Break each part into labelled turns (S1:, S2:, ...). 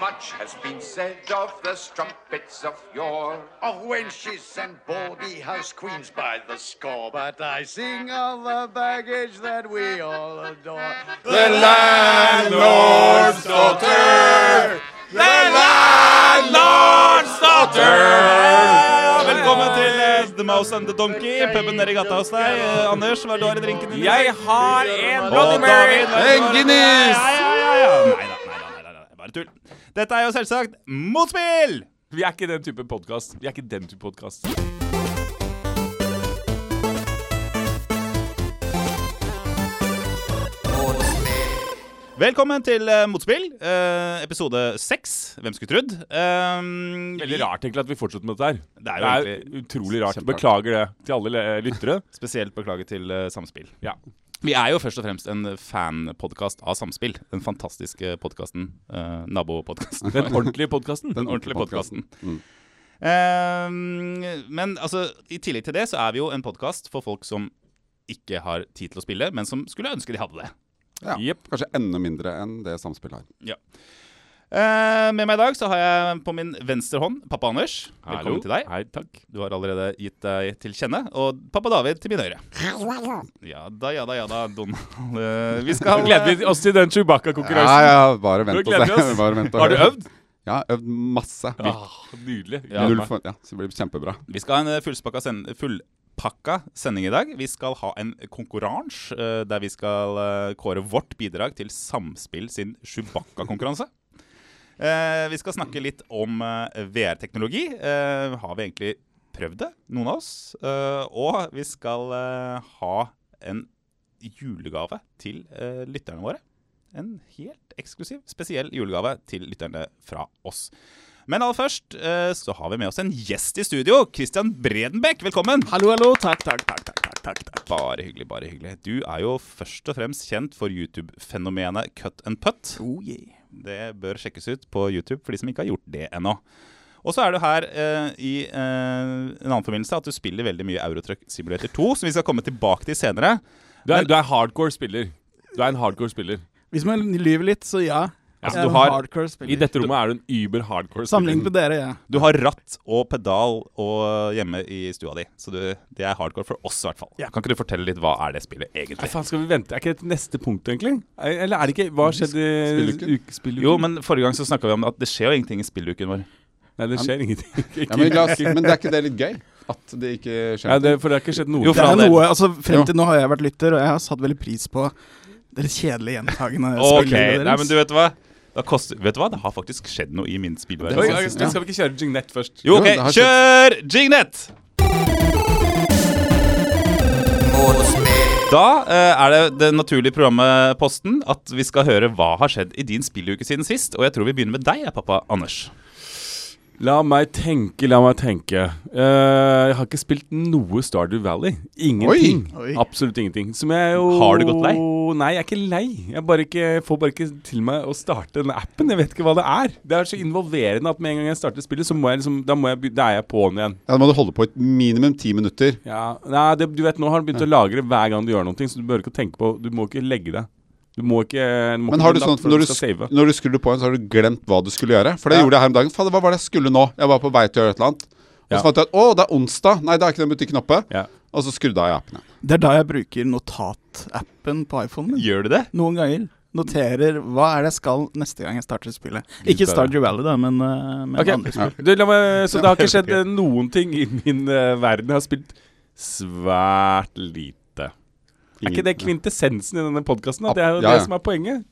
S1: much has been said of the strumpets of yore.
S2: Of wenches and baldy house queens by the score. But I sing of the baggage that we all adore.
S3: The landlord's daughter. The landlord's daughter.
S4: Velkommen til eh, The Mouse and the Donkey, puben nede i gata hos deg. Eh, Anders, hva er det du har i drinken din?
S3: Jeg har en Bloody
S4: Og
S3: Mary.
S4: David, hva er det du har?
S3: En Guinness.
S4: Ja, ja, ja, ja. Neida, neida, neida, neida, bare tull. Dette er jo selvsagt Motspill!
S3: Vi er ikke den type podkast. Vi er ikke den type podkast.
S4: Velkommen til eh, Motspill, eh, episode seks. Hvem skulle trodd? Um,
S3: Veldig rart egentlig at vi fortsetter med dette her.
S4: Det er jo egentlig
S3: utrolig rart.
S4: kjemperart.
S3: Beklager det til alle le- lyttere.
S4: Spesielt beklager til eh, Samspill.
S3: Ja.
S4: Vi er jo først og fremst en fanpodkast av Samspill. Den fantastiske podkasten. Uh, Nabopodkasten.
S3: Den ordentlige podkasten.
S4: Den ordentlige podkasten. Eh, men altså, i tillegg til det så er vi jo en podkast for folk som ikke har tid til å spille, men som skulle ønske de hadde det.
S5: Ja,
S3: Jepp.
S5: Kanskje enda mindre enn det samspillet har.
S4: Eh, med meg i dag så har jeg på min venstre hånd pappa Anders. Velkommen til deg.
S3: Hei, takk.
S4: Du har allerede gitt deg til kjenne. Og pappa David til min høyre. Ja da, ja da, ja da, Donald. Eh, vi skal
S3: Nå gleder vi oss til den
S5: Ja,
S3: Chewbacca-konkurransen.
S5: ja, bare
S3: Nå
S5: vent og
S3: gleder vi
S5: se.
S3: oss.
S5: Bare vent og
S3: Har du
S5: høre.
S3: øvd?
S5: Ja, øvd masse.
S3: Ah, nydelig.
S4: Ja.
S5: Null for, ja, så det blir kjempebra.
S4: Vi skal ha en eh, fullspakka send fullpakka sending i dag. Vi skal ha en konkurranse eh, der vi skal eh, kåre vårt bidrag til Samspill sin Chewbacca-konkurranse. Eh, vi skal snakke litt om eh, VR-teknologi. Eh, har vi egentlig prøvd det, noen av oss? Eh, og vi skal eh, ha en julegave til eh, lytterne våre. En helt eksklusiv, spesiell julegave til lytterne fra oss. Men aller først eh, så har vi med oss en gjest i studio. Christian Bredenbekk, velkommen.
S6: Hallo, hallo. Takk, takk, takk. takk, takk, takk, takk.
S4: Bare hyggelig, bare hyggelig. Du er jo først og fremst kjent for YouTube-fenomenet Cut and Putt.
S6: Oh, yeah.
S4: Det bør sjekkes ut på YouTube for de som ikke har gjort det ennå. Og så er du her eh, i eh, en annen forbindelse at du spiller veldig mye Eurotruck Simulator 2, som vi skal komme tilbake til senere.
S3: Du er, du er hardcore spiller. Du er en hardcore spiller.
S6: Hvis man lyver litt, så ja. Altså,
S3: Ja,
S6: Jeg
S3: så
S6: er
S3: du
S6: en
S3: har-
S6: hardcore
S3: I
S6: spiller.
S3: dette rommet er du en über hardcore spiller.
S6: Sammenlignet med dere, ja.
S4: Du har ratt og pedal og eh, hjemme i stua di, så du, det er hardcore for oss i hvert fall.
S6: Ja.
S4: Kan ikke du fortelle litt hva er det spillet
S3: Nei,
S4: egentlig?
S3: faen, skal vi vente? Er ikke dette neste punkt, egentlig? Eller er det ikke Hva skjedde i
S5: Spilluken?
S3: uke- spilluken?
S4: Jo, men forrige gang så snakka vi om at det skjer jo ingenting i spilluken vår.
S3: Nei, det skjer ingenting. Ikke-
S5: Ja, men, la oss, men det er ikke det litt gøy? At det ikke skjer
S3: Ja,
S5: noe?
S3: det, for det har ikke skjedd noe.
S4: Jo,
S6: Det
S4: for all
S6: er
S4: del.
S6: noe, altså Frem
S5: Jo.
S6: til nå har jeg vært lytter, og jeg har satt veldig pris på det litt kjedelige gjentagende
S4: Ok,
S6: spillet
S4: nei,
S6: deres.
S4: men du vet hva? Da koster, vet du hva? Det har faktisk skjedd noe i min
S3: Oi, oi,
S4: spillverden.
S3: oi, Skal vi ikke kjøre Jignett først?
S4: Jo,
S5: Jo, det
S4: ok,
S5: har
S4: kjør Jignett! Da eh, er det det naturlige programmet Posten at vi skal høre hva har skjedd i din spilluke siden sist. Og jeg tror vi begynner med deg, jeg, pappa Anders.
S3: La meg tenke, la meg tenke. Eh, jeg har ikke spilt noe Stardew Valley. Ingenting.
S6: Oi. Oi.
S3: Absolutt ingenting. Som jeg jo
S4: Har du gått lei?
S3: Nei, jeg er ikke lei. Jeg bare ikke, får bare ikke til meg å starte den appen. Jeg vet ikke hva det er. Det er så involverende at med en gang jeg starter spillet, så må jeg liksom Da, må jeg, be- da er jeg på'n igjen.
S5: Ja, da må du holde på i minimum ti minutter.
S3: Ja, nei, det, du vet, Nå har den begynt å lagre hver gang du gjør noe, så du bør ikke tenke på Du må ikke legge deg. Du må ikke du må
S5: Men
S3: ikke
S5: har du
S3: legge
S5: sånn
S3: deg
S5: at
S3: før
S5: når du,
S3: skal
S5: sk-
S3: save.
S5: når du skrur på en, så har du glemt hva du skulle gjøre? For det
S3: Ja.
S5: gjorde jeg her om dagen. Fader, hva var det jeg skulle nå? Jeg var på vei til å gjøre et eller annet. Og så
S3: Ja.
S5: fant jeg at å, det er onsdag. Nei, da er ikke den butikken oppe.
S3: Ja.
S5: Og så skrudde jeg av appen. igjen.
S6: Det er da jeg bruker notatappen på iPhonen min.
S4: Gjør du det?
S6: Noen ganger. Noterer hva er det jeg skal neste gang jeg starter spillet. Ikke
S3: Gutta,
S6: Stardew Valley, da, men, eh, men
S3: Ok,
S6: andre spill.
S3: du, la meg, Så det har ikke skjedd eh, noen ting i min eh, verden. Jeg har spilt svært lite. Er ikke det kvintessensen i denne podkasten? Det er jo
S5: Ja, ja.
S3: det som er poenget.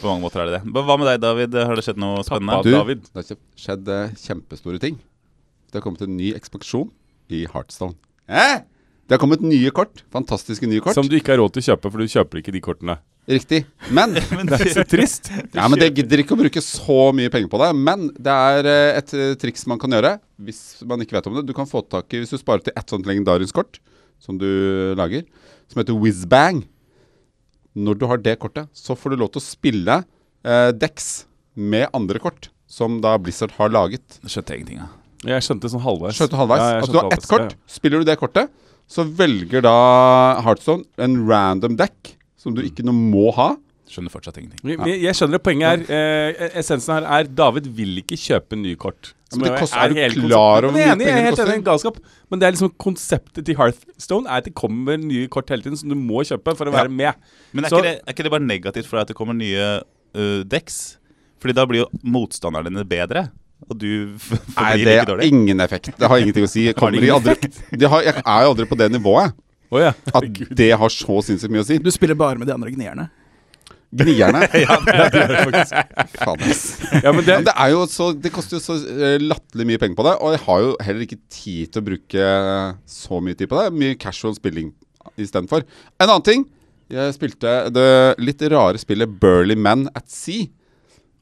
S4: På mange måter er det det. Men Hva med deg, David? Har det skjedd noe
S3: Pappa.
S4: spennende?
S5: Du,
S3: David.
S5: det har ikke skjedd eh, kjempestore ting. Det har kommet en ny ekspansjon i Heartstone. Eh? Det har kommet nye kort. Fantastiske nye kort.
S3: Som du ikke har råd til å kjøpe, for du kjøper ikke de kortene.
S5: Riktig. Men
S3: Det er så trist.
S5: Ja, men Det gidder ikke å bruke så mye penger på det. Men det er eh, et eh, triks man kan gjøre hvis man ikke vet om det. Du kan få tak i, Hvis du sparer til ett sånt legendarisk kort som du eh, lager, som heter Whizbang Når du har det kortet, så får du lov til å spille eh, Dex med andre kort som da Blizzard har laget.
S4: Skjønte jeg ingenting av.
S3: Jeg skjønte sånn halvveis.
S5: Skjønte halvveis?
S3: Ja, jeg
S5: altså, du har
S3: skjønte
S5: ett
S3: halvveis.
S5: kort. Spiller du det kortet, så velger da Heartstone en random deck som du ikke noe må ha.
S4: Skjønner fortsatt ingenting.
S3: Men Jeg jeg skjønner at poenget er eh, Essensen her er David vil ikke kjøpe nye kort.
S5: Ja, men det
S3: Som
S5: koster-
S3: er
S5: er du
S3: hele
S5: klar
S3: konseptet.
S5: over
S3: Men jeg er
S5: hvor mye
S3: enig, jeg er
S5: penger det
S3: helt enig i
S5: koster?
S3: galskap, men det er liksom konseptet til Hearthstone er at det kommer nye kort hele tiden som du må kjøpe for å være med.
S4: Men er,
S3: Så-
S4: ikke det, er ikke det bare negativt for deg at det kommer nye uh, deks? Fordi da blir jo motstanderne dine bedre, og du f-
S5: Nei,
S4: forblir
S5: det
S4: like
S5: har
S4: dårlig.
S5: ingen effekt. Det har ingenting å si. Jeg, kommer
S3: det ingen
S5: i aldri, det har, jeg er jo aldri på det nivået
S3: Å ja.
S5: at det har så sinnssykt mye å si.
S6: Du spiller bare med de andre gnierne.
S5: Gnierne.
S3: ja,
S5: Faen, ass.
S3: men
S5: Ja,
S3: det,
S5: men det, er jo så, det koster jo så eh, latterlig mye penger på det, og jeg har jo heller ikke tid til å bruke eh, så mye tid på det. Mye casual spilling istedenfor. En annen ting. Jeg spilte det litt rare spillet Burly Man at Sea.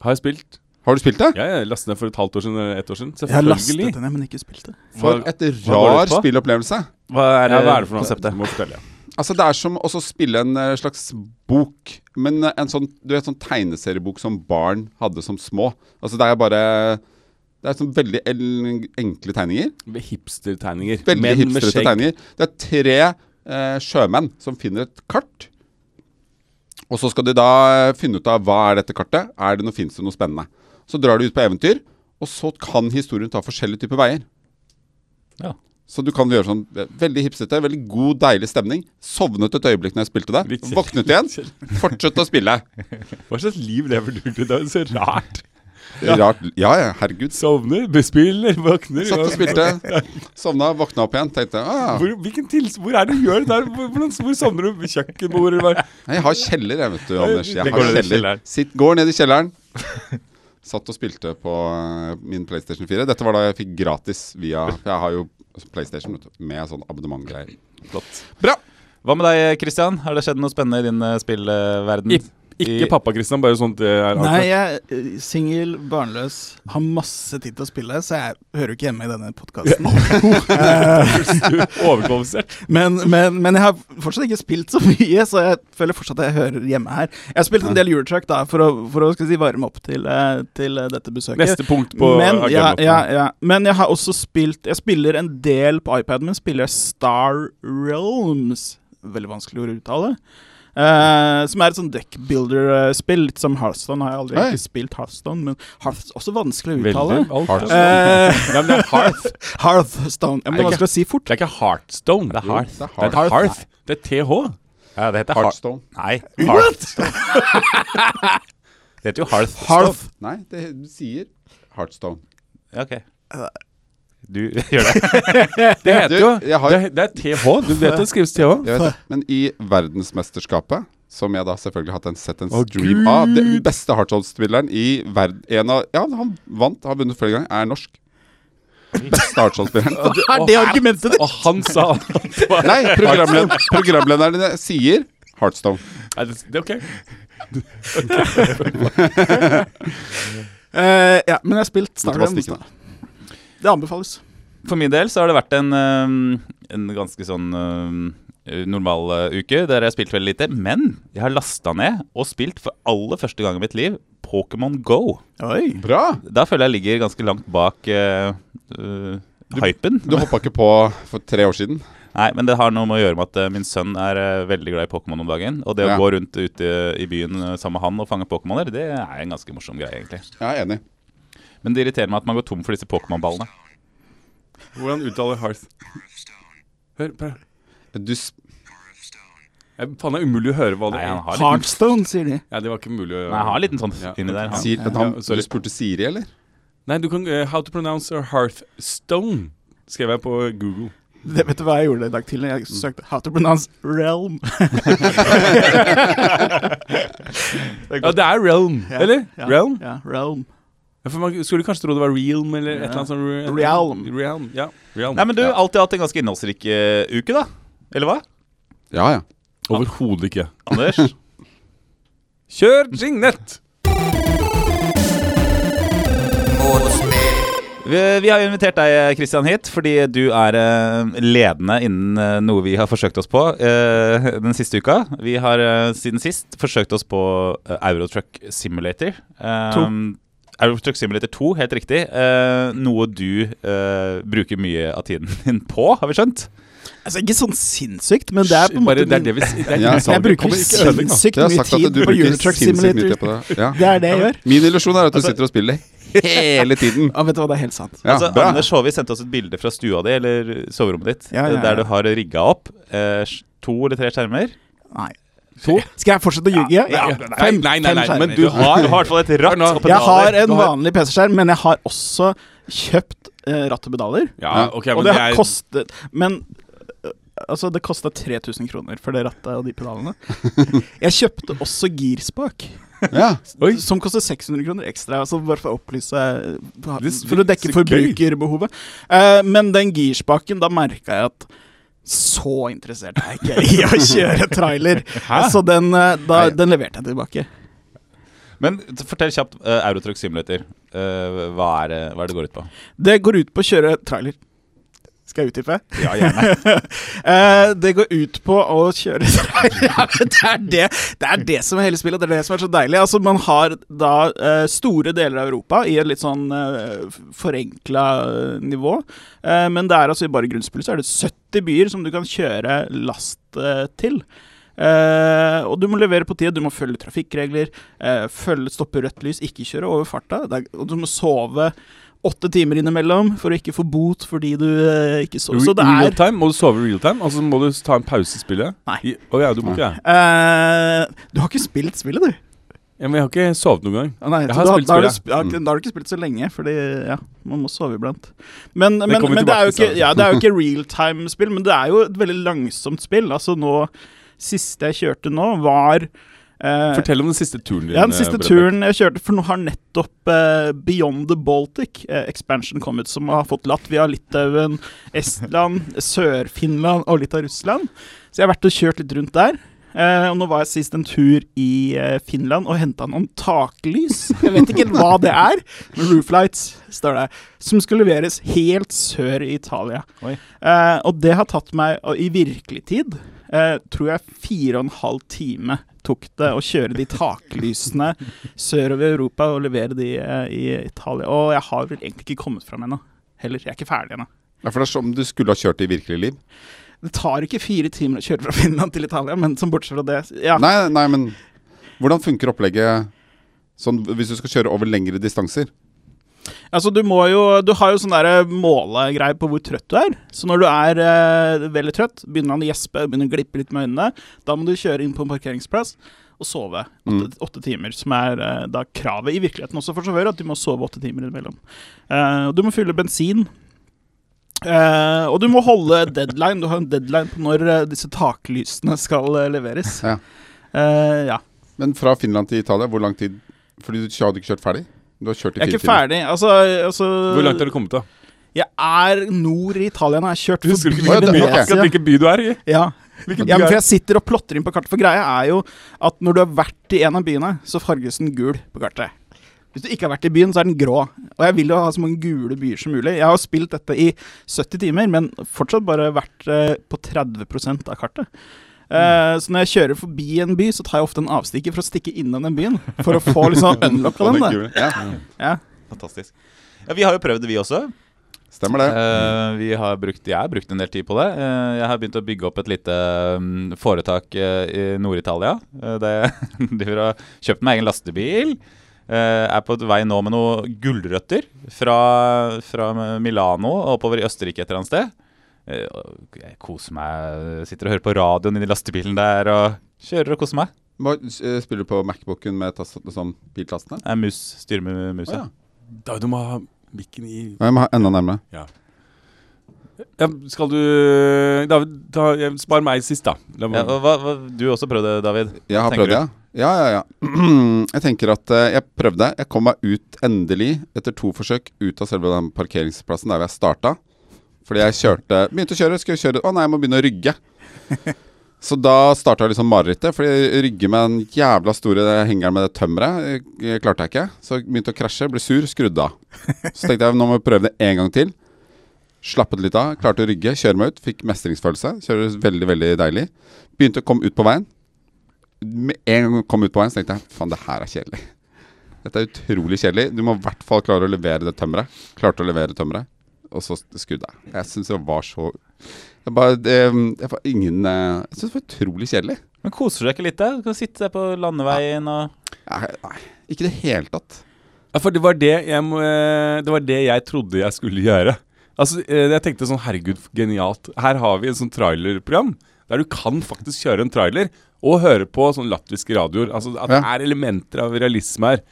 S3: har jeg spilt.
S5: Har du spilt det?
S3: Ja, jeg lastet ned for et halvt år siden eller ett år siden.
S6: Jeg har
S3: Selvfølgelig.
S6: lastet den, men ikke spilt det.
S5: For et
S3: går
S5: rar
S3: det ut på?
S5: spillopplevelse.
S3: Hva er,
S4: Ja,
S3: hva er det for noe?
S4: konseptet?
S3: Du må fortelle. ja.
S5: Altså Det er som også å spille en eh, slags bok, men eh, en sånn, du vet, sånn tegneseriebok som barn hadde som små. Altså Det er bare Det er sånn veldig el- enkle tegninger.
S3: Med Hipstertegninger.
S5: Veldig
S3: Menn med
S5: hipsterete
S3: skjegg.
S5: tegninger. Det er tre eh, sjømenn som finner et kart. Og så skal de da eh, finne ut av hva er dette kartet. Er det noe, Fins det noe spennende? Så drar de ut på eventyr, og så kan historien ta forskjellige typer veier.
S4: Ja.
S5: Så du kan gjøre sånn eh, veldig hipsete, veldig god, deilig stemning. Sovnet et øyeblikk når jeg spilte det.
S3: Litt kjedelig.
S5: Våknet igjen, fortsatte å spille.
S3: Hva slags liv lever du til? Det er jo så rart.
S5: Rart. Ja, ja, herregud.
S3: Sovner, bespiller, våkner
S5: Satt og
S3: ja.
S5: spilte. Sovna, våkna opp igjen. Tenkte ah,
S3: Hvor, hvilken tils hvor er det du gjør det der? Hvor, hvordan, hvor sovner du? Ved Kjøkkenbordet? Hva?
S5: Nei, Jeg har kjeller, jeg, vet du, Anders.
S3: Det
S5: Jeg
S3: går ned
S5: har
S3: i
S5: kjeller.
S4: kjelleren.
S5: Sitt, går ned i kjelleren. Satt og spilte på eh, min PlayStation 4. Dette var da jeg fikk gratis via for Jeg har jo altså PlayStation vet du, med sånn abonnementgreier.
S4: Flott.
S5: Bra!
S4: Hva med deg, Christian? Har det skjedd noe spennende i din eh, spillverden?
S3: Ik ikke
S4: I-
S3: pappa, Christian, bare sånt det er
S6: Nei,
S3: avklart.
S6: jeg er singel, barnløs, har masse tid til å spille, så jeg hører jo ikke hjemme i denne podkasten.
S3: Overkvalifisert.
S6: men, men, men jeg har fortsatt ikke spilt så mye, så jeg føler fortsatt at jeg hører hjemme her. Jeg har spilt en del juletruck da, for å, for å skal jeg si, varme opp til, eh, til eh, dette besøket.
S3: Neste punkt på
S6: men, ja,
S3: agendaen.
S6: ja, ja. men jeg har også spilt Jeg spiller en del på iPad, men spiller Star Realms. Veldig vanskelig ord å uttale. Eh, som er et sånn deckbuilder-spill. Litt som Hearthstone. Har jeg aldri
S5: Hei.
S6: ikke spilt Hearthstone, men Hearth, også vanskelig å
S3: Veldig.
S6: uttale.
S3: Alt.
S5: Hearthstone.
S6: Eh,
S3: Nei, men det er Hearth.
S6: Hearthstone. Ja, men det er
S3: Er det ikke-
S6: vanskelig å si fort.
S3: Det er ikke Heartstone. Det er
S5: Hearth.
S3: Det er Hearth. Det er TH.
S4: Ja, det heter Heart...
S5: Heartstone.
S4: Nei, Hearthstone. det heter jo Hearthstone.
S6: Hearth.
S5: Nei, det du sier Heartstone.
S4: Ja, ok. Du gjør det.
S3: Det heter
S5: Du,
S3: jo
S5: jeg har-
S3: det, er- det er TH. Du vet det skrives TH.
S5: Jeg vet det. Men i verdensmesterskapet, som jeg da selvfølgelig har hatt en, sett en stream av Den beste Heartstone-spilleren i verden En av Ja, han vant, har vunnet flere ganger, er norsk. Beste Heartstone-spilleren.
S6: Hva er det argumentet ditt?
S3: Og han sa det var-
S5: Nei, programled programlederen din sier Heartstone.
S3: Nei, det, det er ok.
S6: Eh, ja, men jeg har spilt Star
S5: Måtte bare
S6: Realms.
S5: stikke
S6: Da. Det anbefales.
S4: For min del så har det vært en, øhm, en ganske sånn øhm, normal øh, uke, der jeg har spilt veldig lite. Men jeg har lasta ned og spilt for aller første gang i mitt liv Pokémon Go.
S6: Oi.
S5: Bra!
S4: Da føler jeg ligger ganske langt bak øh, øh, hypen.
S5: Du hoppa ikke på for tre år siden?
S4: Nei, men det har noe med å gjøre med at eh, min sønn er eh, veldig glad i Pokémon om dagen. Og det å
S5: Ja.
S4: gå rundt ute i byen eh, sammen med han og fange Pokémoner, det er en ganske morsom greie, egentlig.
S5: Jeg er enig.
S4: Men det irriterer meg at man går tom for disse Pokémon-ballene.
S3: Hvordan uttaler Hearth? Hør, bare.
S5: Du s-
S3: Jeg, faen, det er umulig å høre hva det
S4: Nei, han
S3: er.
S4: har litt-
S6: Heartstone, sier de.
S3: Ja, det var ikke mulig å
S4: Nei, han har en liten sånn
S3: Ja.
S4: inni der. Han.
S5: sier men han,
S3: Ja, sorry.
S5: du spurte Siri, eller?
S3: Nei, du kan eh, How to pronounce a Hearthstone skrev jeg på Google.
S6: Det, vet du hva jeg gjorde i dag tidlig? Jeg
S3: Mm.
S6: søkte How to pronounce realm.
S3: Ja, det er Realm, eller?
S6: Ja,
S3: Realm?
S6: Ja, realm.
S3: Ja, for man skulle kanskje tro det var Realm eller et eller annet sånt.
S6: Realm.
S3: Realm, ja. Realm.
S4: Nei, men du, alltid hatt en ganske innholdsrik eh, uke, da. Eller hva?
S5: Ja, ja.
S3: Overhodet ikke.
S4: Anders?
S3: Kjør Ringnett!
S4: Vi, vi har jo invitert deg eh, Christian, hit fordi du er eh, ledende innen eh, noe vi har forsøkt oss på eh, den siste uka. Vi har eh, siden sist forsøkt oss på eh, Eurotruck Simulator. Eh, Eurotruck Simulator 2, helt riktig. Eh, noe du eh, bruker mye av tiden din på, har vi skjønt.
S6: Altså, ikke sånn sinnssykt, men det er på en
S3: Bare,
S6: måte
S3: det er
S6: min-
S3: det vi s- det er
S5: Ja,
S3: det vi
S5: jeg
S3: sa.
S5: bruker
S3: Kommer ikke
S6: sinnssykt
S3: ødelegg nå.
S6: sykt
S5: Jeg har
S6: mye
S5: sagt at
S6: tid
S5: du
S6: på
S5: bruker
S6: Eurotruck
S5: sinnssykt mye
S6: Simulator.
S5: tid på det. Ja.
S6: Det er Altså- det jeg gjør.
S5: Min illusjon er at du sitter og spiller hele tiden.
S6: Ja, vet du hva, det er helt sant.
S5: Ja,
S4: altså,
S5: bra.
S4: Anders Håvi sendte oss et bilde fra stua di, eller soverommet ditt,
S6: Ja, ja, ja.
S4: der du har rigga opp eh, to eller tre skjermer.
S6: Nei.
S3: To?
S6: Skal jeg fortsette å ljuge?
S3: Ja,
S6: Ja,
S3: Nei, nei, nei, nei,
S6: fem
S3: men
S6: skjermer.
S3: du
S4: Du har, du har
S3: har
S4: i hvert fall et ratt
S3: nå-
S4: og pedaler.
S6: Jeg har en
S3: Du har-
S6: vanlig PC-skjerm, men jeg har også kjøpt eh, ratt og pedaler.
S3: Ja, ok, men
S6: og det
S3: det
S6: har
S3: er
S6: kostet Men eh, altså, det kosta 3000 kroner for det rattet og de pedalene. Jeg kjøpte også girspak,
S5: Ja.
S3: Oi.
S6: som koster 600 kroner ekstra. Altså bare for å opplyse eh,
S3: Det er
S6: For å dekke
S3: så gøy.
S6: forbrukerbehovet. Eh, men den girspaken, da merka jeg at så interessert er jeg ikke i å kjøre trailer. Så den, eh, da, den leverte jeg tilbake.
S4: Men t- fortell kjapt eh, Eurotruck Simulator. Eh, hva, er det, hva er det går ut på?
S6: Det går ut på å kjøre trailer. Skal jeg utdype?
S4: Ja, gjerne.
S6: Eh, det går ut på å kjøre Ja, men det, er det, det er det som er hele spillet, det er det som er så deilig. Altså, man har da eh, store deler av Europa i et litt sånn uh, forenkla eh, nivå. Eh, men det er altså i bare grunnspillet så er det 70 byer som du kan kjøre last eh, til. Eh, og du må levere på tide, du må følge trafikkregler, eh, følge stoppe rødt lys, ikke kjøre over farta. Det er, og du må sove åtte timer innimellom for å ikke få bot fordi du eh, ikke sover. Så det
S3: real
S6: er
S3: time. Må du sove real time? Altså må du ta en pause i spillet?
S6: Nei.
S3: I- Å ja, du må ikke det?
S6: Eh, du har ikke spilt spillet, du.
S3: Ja, men jeg har ikke sovet noen gang.
S6: Ah, nei,
S3: Jeg
S6: så
S3: har
S6: da,
S3: spilt
S6: da har du
S3: spillet. Mm.
S6: sp- ja, ok, Da har du ikke spilt så lenge, fordi ja, man må sove iblant. Men, men,
S3: kommer vi
S6: men det, er jo
S3: tilbake til
S6: ikke, ja, det er jo ikke real time-spill, men det er jo et veldig langsomt spill. Altså nå Siste jeg kjørte nå, var eh,
S3: Fortell om den siste turen din. eh,
S6: ja, den siste
S3: Bredbekk.
S6: turen jeg kjørte, for nå har nettopp eh, Beyond the Baltic eh, expansion kommet, som har fått Latvia, Litauen, Estland, Sør-Finland og litt av Russland. Så jeg har vært og kjørt litt rundt der. Eh, og nå var jeg sist en tur i eh, Finland og henta noen taklys. Jeg vet ikke helt hva det er, men rooflights står det. Som skulle leveres helt sør i Italia.
S4: Oi.
S6: Eh, og det har tatt meg, og i virkelig tid, eh, tror jeg fire og en halv time tok det å kjøre de taklysene sørover i Europa og levere de eh, i Italia. Og jeg har vel egentlig ikke kommet fram ennå. Heller. Jeg er ikke ferdig ennå.
S5: Ja, for det er som du skulle ha kjørt i virkelig liv.
S6: Det tar ikke fire timer å kjøre fra Finland til Italia, men som bortsett fra det ja.
S5: Nei, nei, men hvordan funker opplegget sånn hvis du skal kjøre over lengre distanser?
S6: Altså, du, må jo, du har jo sånn der målegreie på hvor trøtt du er. Så når du er eh, veldig trøtt, begynner han å gjespe, begynner å glippe litt med øynene, da må du kjøre inn på en parkeringsplass og sove åtte,
S5: Mm.
S6: åtte timer. Som er eh, da kravet i virkeligheten også for sjåfører, at du må sove åtte timer innimellom. Eh, og du må fylle bensin. Eh, og du må holde deadline. Du har en deadline på når eh, disse taklysene skal eh, leveres.
S5: Ja.
S6: Eh, ja.
S5: Men fra Finland til Italia, hvor lang tid? Fordi du hadde ikke kjørt ferdig? Du har kjørt i
S6: Jeg er
S5: fire
S6: ikke ferdig. Altså, altså
S3: Hvor langt har du kommet, da?
S6: Jeg er nord i Italia. nå. Jeg har kjørt
S3: Du husker ikke
S5: Oi,
S3: hvilken by,
S5: det- ok.
S3: akkurat hvilken by du er i?
S6: Ja.
S3: Hvilken
S6: ja,
S3: by
S6: men
S3: er
S6: for jeg sitter og plotter inn på kartet, for greia er jo at når du har vært i en av byene, så farges den gul på kartet. Hvis du ikke har vært i byen, så er den grå. Og jeg vil jo ha så mange gule byer som mulig. Jeg har jo spilt dette i 70 timer, men fortsatt bare vært eh, på 30 av kartet. Eh, så når jeg kjører forbi en by, så tar jeg ofte en avstikker for å stikke innom den byen. For å få liksom unlocka den. Da.
S5: timer. Ja,
S6: Ja.
S4: Fantastisk. Ja, vi har jo prøvd det, vi også.
S5: stemmer det.
S4: Eh, vi har brukt, jeg har brukt en del tid på det. Eh, jeg har begynt å bygge opp et lite mm, foretak eh, i Nord-Italia. Uh, driver og kjøpt meg egen lastebil. Eh, er på et vei nå med noen gulrøtter fra, fra Milano og oppover i Østerrike et eller annet sted. Eh, og jeg koser meg. Sitter og hører på radioen inni lastebilen der og kjører og koser meg.
S5: Hva, eh, spiller du på Macbooken med tast, sånn biltastene?
S4: Jeg er mus, styrer med musa.
S5: Å, ja.
S3: Da du må ha mikken i
S5: Nei, Jeg må ha enda nærmere.
S3: ja, Skal du David, ta, jeg- spar meg sist, da. La meg-
S4: Ja, og hva, hva, du også prøvde, David.
S5: Jeg har
S4: Tenker
S5: prøvd, ja. Ja, ja, ja. Jeg tenker at eh, jeg prøvde. Jeg kom meg ut endelig, etter to forsøk, ut av selve den parkeringsplassen der hvor jeg starta. Fordi jeg kjørte Begynte å kjøre, skulle kjøre Å nei, jeg må begynne å rygge. Så da starta liksom marerittet, fordi rygge med den jævla store hengeren med det tømmeret eh, klarte jeg ikke. Så jeg begynte å krasje, ble sur, skrudde av. Så tenkte jeg nå må jeg prøve det en gang til. Slappet litt av, klarte å rygge, kjøre meg ut. Fikk mestringsfølelse. Kjører veldig, veldig deilig. Begynte å komme ut på veien. Med en gang jeg kom ut på veien, så tenkte jeg faen, det her er kjedelig. Dette er utrolig kjedelig. Du må i hvert fall klare å levere det tømmeret. Klarte å levere tømmeret, og så skudde jeg. Jeg syns det var så Jeg bare, det, um, jeg får ingen eh, Jeg syns det var utrolig kjedelig.
S4: Men koser du deg ikke litt der? Du kan sitte der på landeveien og
S5: Nei, nei, ikke i det hele tatt.
S3: Ja, for det var det jeg, må- eh, det var det jeg trodde jeg skulle gjøre. Altså, eh, Jeg tenkte sånn herregud, genialt. Her har vi en sånn trailerprogram der du kan faktisk kjøre en trailer og høre på sånn latviske radioer. Altså At det
S5: Ja.
S3: er elementer av realisme her.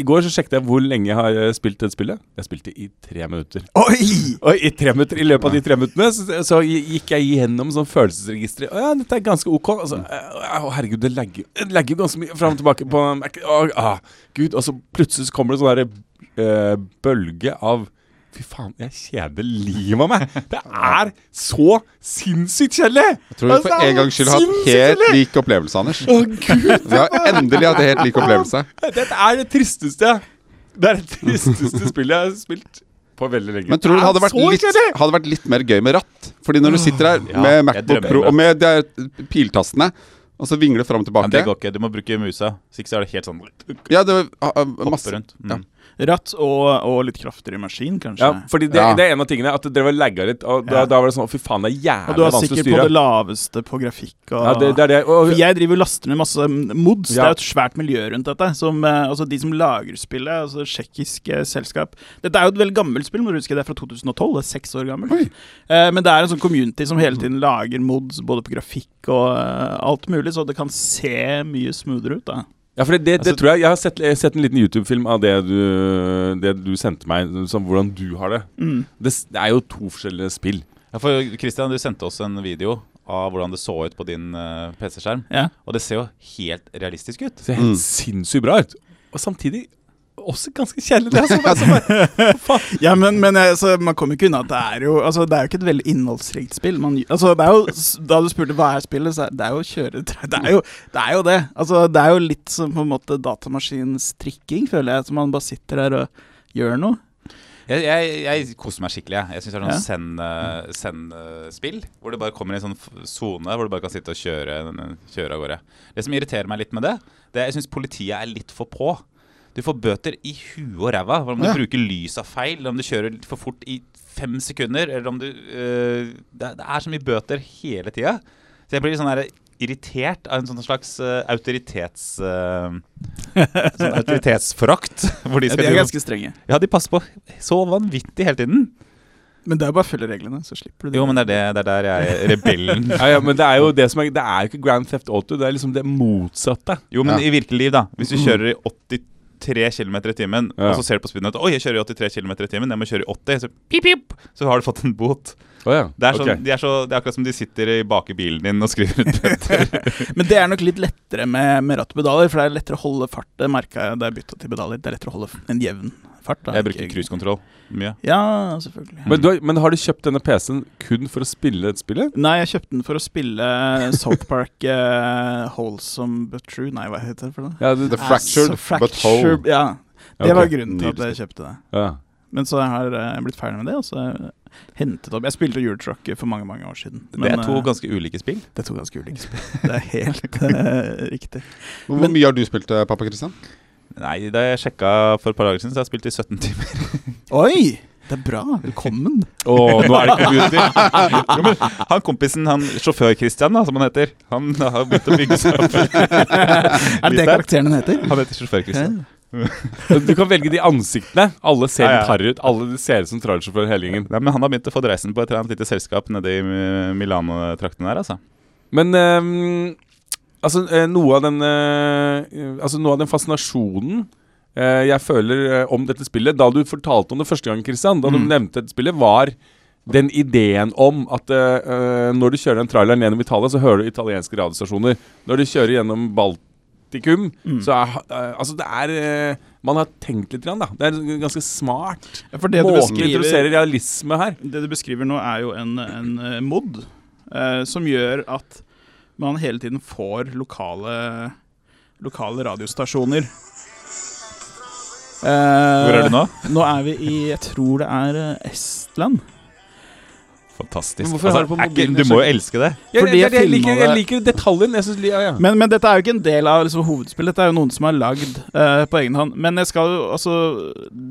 S3: I går så sjekket jeg hvor lenge jeg har eh, spilt det spillet. Jeg spilte i tre minutter.
S6: Oi!
S3: Og i, tre minutter, I løpet av de tre minuttene så, så gikk jeg gjennom sånn følelsesregisteret. Å ja, dette er ganske ok. Altså, å, herregud, det lagger det lagger jo ganske mye fram og tilbake på Mac. Å, ah, Gud, Og så plutselig så kommer det sånn derre eh, bølge av Fy faen, jeg kjeder livet av meg! Det er så sinnssykt kjedelig!
S5: Jeg tror vi
S3: Altså,
S5: for en gangs skyld har hatt
S3: sinnssykt
S5: helt
S3: kjedelig!
S5: lik opplevelse, Anders. Vi har endelig hatt helt lik opplevelse.
S3: Dette er det tristeste Det er det tristeste spillet jeg har spilt på veldig lenge.
S5: Men tror du det
S3: er
S5: hadde vært,
S3: så
S5: litt,
S3: kjedelig!
S5: hadde vært litt mer gøy med ratt? Fordi når du sitter her med Macbook
S4: drømmer
S5: Pro
S4: om
S5: og med de her piltastene, og så vingler du fram og
S4: Men det
S5: tilbake
S4: går ikke. Du må bruke musa. Hvis ikke så er det helt sånn Hoppe
S5: Ja, det var ah, ah, masse
S4: rundt. Mm.
S6: Ratt og, og litt kraftigere maskin, kanskje.
S3: Ja, fordi det,
S5: Ja.
S3: det er en av tingene at dere var lagga litt. Og da,
S6: Ja.
S3: da var det sånn Fy faen, det er
S6: og
S3: jævlig
S6: du er
S3: vanskelig å
S6: sikkert på
S3: styre.
S6: det laveste på grafikk og
S3: Ja, det, det er det.
S6: For
S3: Og,
S6: jeg driver og laster ned masse mm, mods. Det
S3: Ja.
S6: er jo et svært miljø rundt dette. Som, eh, altså De som lager spillet, altså tsjekkisk eh, selskap Dette er jo et veldig gammelt spill, må du huske. Det er fra 2012. Det er seks år gammelt. Eh, men det er en sånn community som
S3: Mm.
S6: hele tiden lager mods både på grafikk og eh, alt mulig, så det kan se mye smoothere ut. da
S3: ja, for det, det,
S6: Altså-
S3: det tror jeg Jeg har sett, jeg har sett en liten YouTube-film av det du, det du sendte meg, som hvordan du har det.
S6: Mm.
S3: det. s- Det er jo to forskjellige spill.
S4: Ja, for Christian, du sendte oss en video av hvordan det så ut på din eh, PC-skjerm.
S6: Ja.
S4: Og det ser jo helt realistisk ut.
S3: Det ser helt sinnssykt bra ut. Og samtidig også ganske kjedelig. Det er sånn, altså, bare,
S6: Ja, men, men altså, man kommer ikke unna at det er jo Altså, det er jo ikke et veldig innholdsrikt spill. Man, altså, det er jo, s- da du spurte hva er spillet, så er det er jo å kjøre tre- det er jo, det er jo det. Altså, det er jo litt som på en måte datamaskinens trikking, føler jeg. At man bare sitter der og gjør noe.
S4: Jeg, jeg, jeg koser meg skikkelig. Jeg, jeg syns det er
S6: Ja.
S4: noe send send-spill. hvor du bare kommer i en sånn f- sone hvor du bare kan sitte og kjøre, kjøre av gårde. Det som irriterer meg litt med det, det er jeg syns politiet er litt for på. Du får bøter i huet og ræva for om du
S5: Ja.
S4: bruker lysa feil, eller om du kjører litt for fort i fem sekunder, eller om du øh, det, er- det er så mye bøter hele tida. Så jeg blir sånn der irritert av en sånn slags øh, autoritets... øh, sånn autoritetsforakt. Hvor de
S6: Ja,
S4: skal
S6: de
S4: drive
S6: er
S4: og-
S6: ganske strenge.
S4: ja, de passer på så vanvittig hele tiden.
S6: Men det er jo bare å følge reglene, så slipper du det.
S4: Jo, men det er, det, det er der jeg er rebellen.
S3: ja, ja, men det er jo det som er Det er jo ikke Grand Theft Auto. Det er liksom det motsatte.
S4: Jo, men
S5: Ja.
S4: i virkelig liv, da. Hvis du kjører i 83 km i timen,
S3: Ja.
S4: og så ser du på speedometeret Oi, jeg kjører i 83 km i timen, jeg må kjøre i 80, så pip, pip, så har du fått en bot. Det er, sånn,
S3: Ok.
S4: de er, så, det er akkurat som de sitter i bak i bilen din og skriver ut bøter.
S6: Men det er nok litt lettere med, med ratt og pedaler, for det er lettere å holde fart. Det merka jeg da jeg bytta til pedaler. Det er lettere å holde f- en jevn fart. Da.
S4: Jeg bruker cruisekontroll mye.
S6: Ja, selvfølgelig.
S3: Men, du, har- men har du kjøpt denne PC-en kun for å spille dette spillet?
S6: Nei, jeg kjøpte den for å spille South Park eh, Wholesome But True. Nei, hva heter det for noe?
S3: Ja, det,
S5: The Fractured
S6: Ass-
S5: But Whole.
S6: fracture- Ja, det
S3: Ok,
S6: var grunnen til at
S5: nydelig.
S6: jeg kjøpte det.
S3: ja.
S6: Men så har jeg eh, blitt ferdig med det, og så har jeg hentet opp Jeg spilte Eurotruck for mange, mange år siden.
S4: Det er to
S6: eh,
S4: ganske ulike spill.
S6: det er to ganske ulike spill. Det er helt eh, riktig.
S5: Hvor
S6: Men-
S5: mye har du spilt, eh, pappa Christian?
S4: Nei, da jeg sjekka for et par dager siden, så har jeg spilt i 17 timer.
S6: Oi! Det er bra. Velkommen.
S3: Å, nå er det ikke
S4: Han kompisen, han sjåfør-Christian, da, som han heter, han har begynt å bygge seg opp.
S6: Er det det
S4: Litt der.
S6: karakteren din heter?
S4: Han heter sjåfør-Christian.
S3: Du kan velge de ansiktene. Alle ser
S4: Ja, ja.
S3: tarre ut. Alle de ser ut som trailersjåfør hele gjengen.
S4: Nei, men han har begynt å få dreisen på et eller annet lite selskap nede i eh, Milano-trakten her, altså.
S3: Men ehm, altså, eh, noe av den eh, Altså noe av den fascinasjonen eh, jeg føler eh, om dette spillet Da du fortalte om det første gang, Christian, da
S6: Mm.
S3: du nevnte dette spillet, var den ideen om at eh, eh, når du kjører den traileren gjennom Italia, så hører du italienske radiostasjoner. Når du kjører gjennom Baltikum,
S6: Mm.
S3: så er eh, Altså, det er eh, Man har tenkt litt, grann, da. Det er ganske smart
S6: Ja, For det du
S3: måte å
S6: beskriver
S3: introdusere realisme her.
S6: Det du beskriver nå, er jo en, en eh, mod eh, som gjør at man hele tiden får lokale, lokale radiostasjoner. Eh,
S4: Hvor er du nå?
S6: Nå er vi i Jeg tror det er eh, Estland.
S4: Fantastisk. Altså,
S3: Men hvorfor har du på
S4: er ikke-
S3: mobilen?
S4: du må jo elske det.
S3: Ja,
S6: Fordi
S3: det er det jeg,
S6: jeg
S3: liker,
S6: filmet
S3: jeg
S6: det.
S3: liker detaljen. Jeg synes, ja, ja.
S6: Men, men dette er jo ikke en del av liksom, hovedspillet. Dette er jo noen som har lagd eh, på egen hånd. Men jeg skal jo altså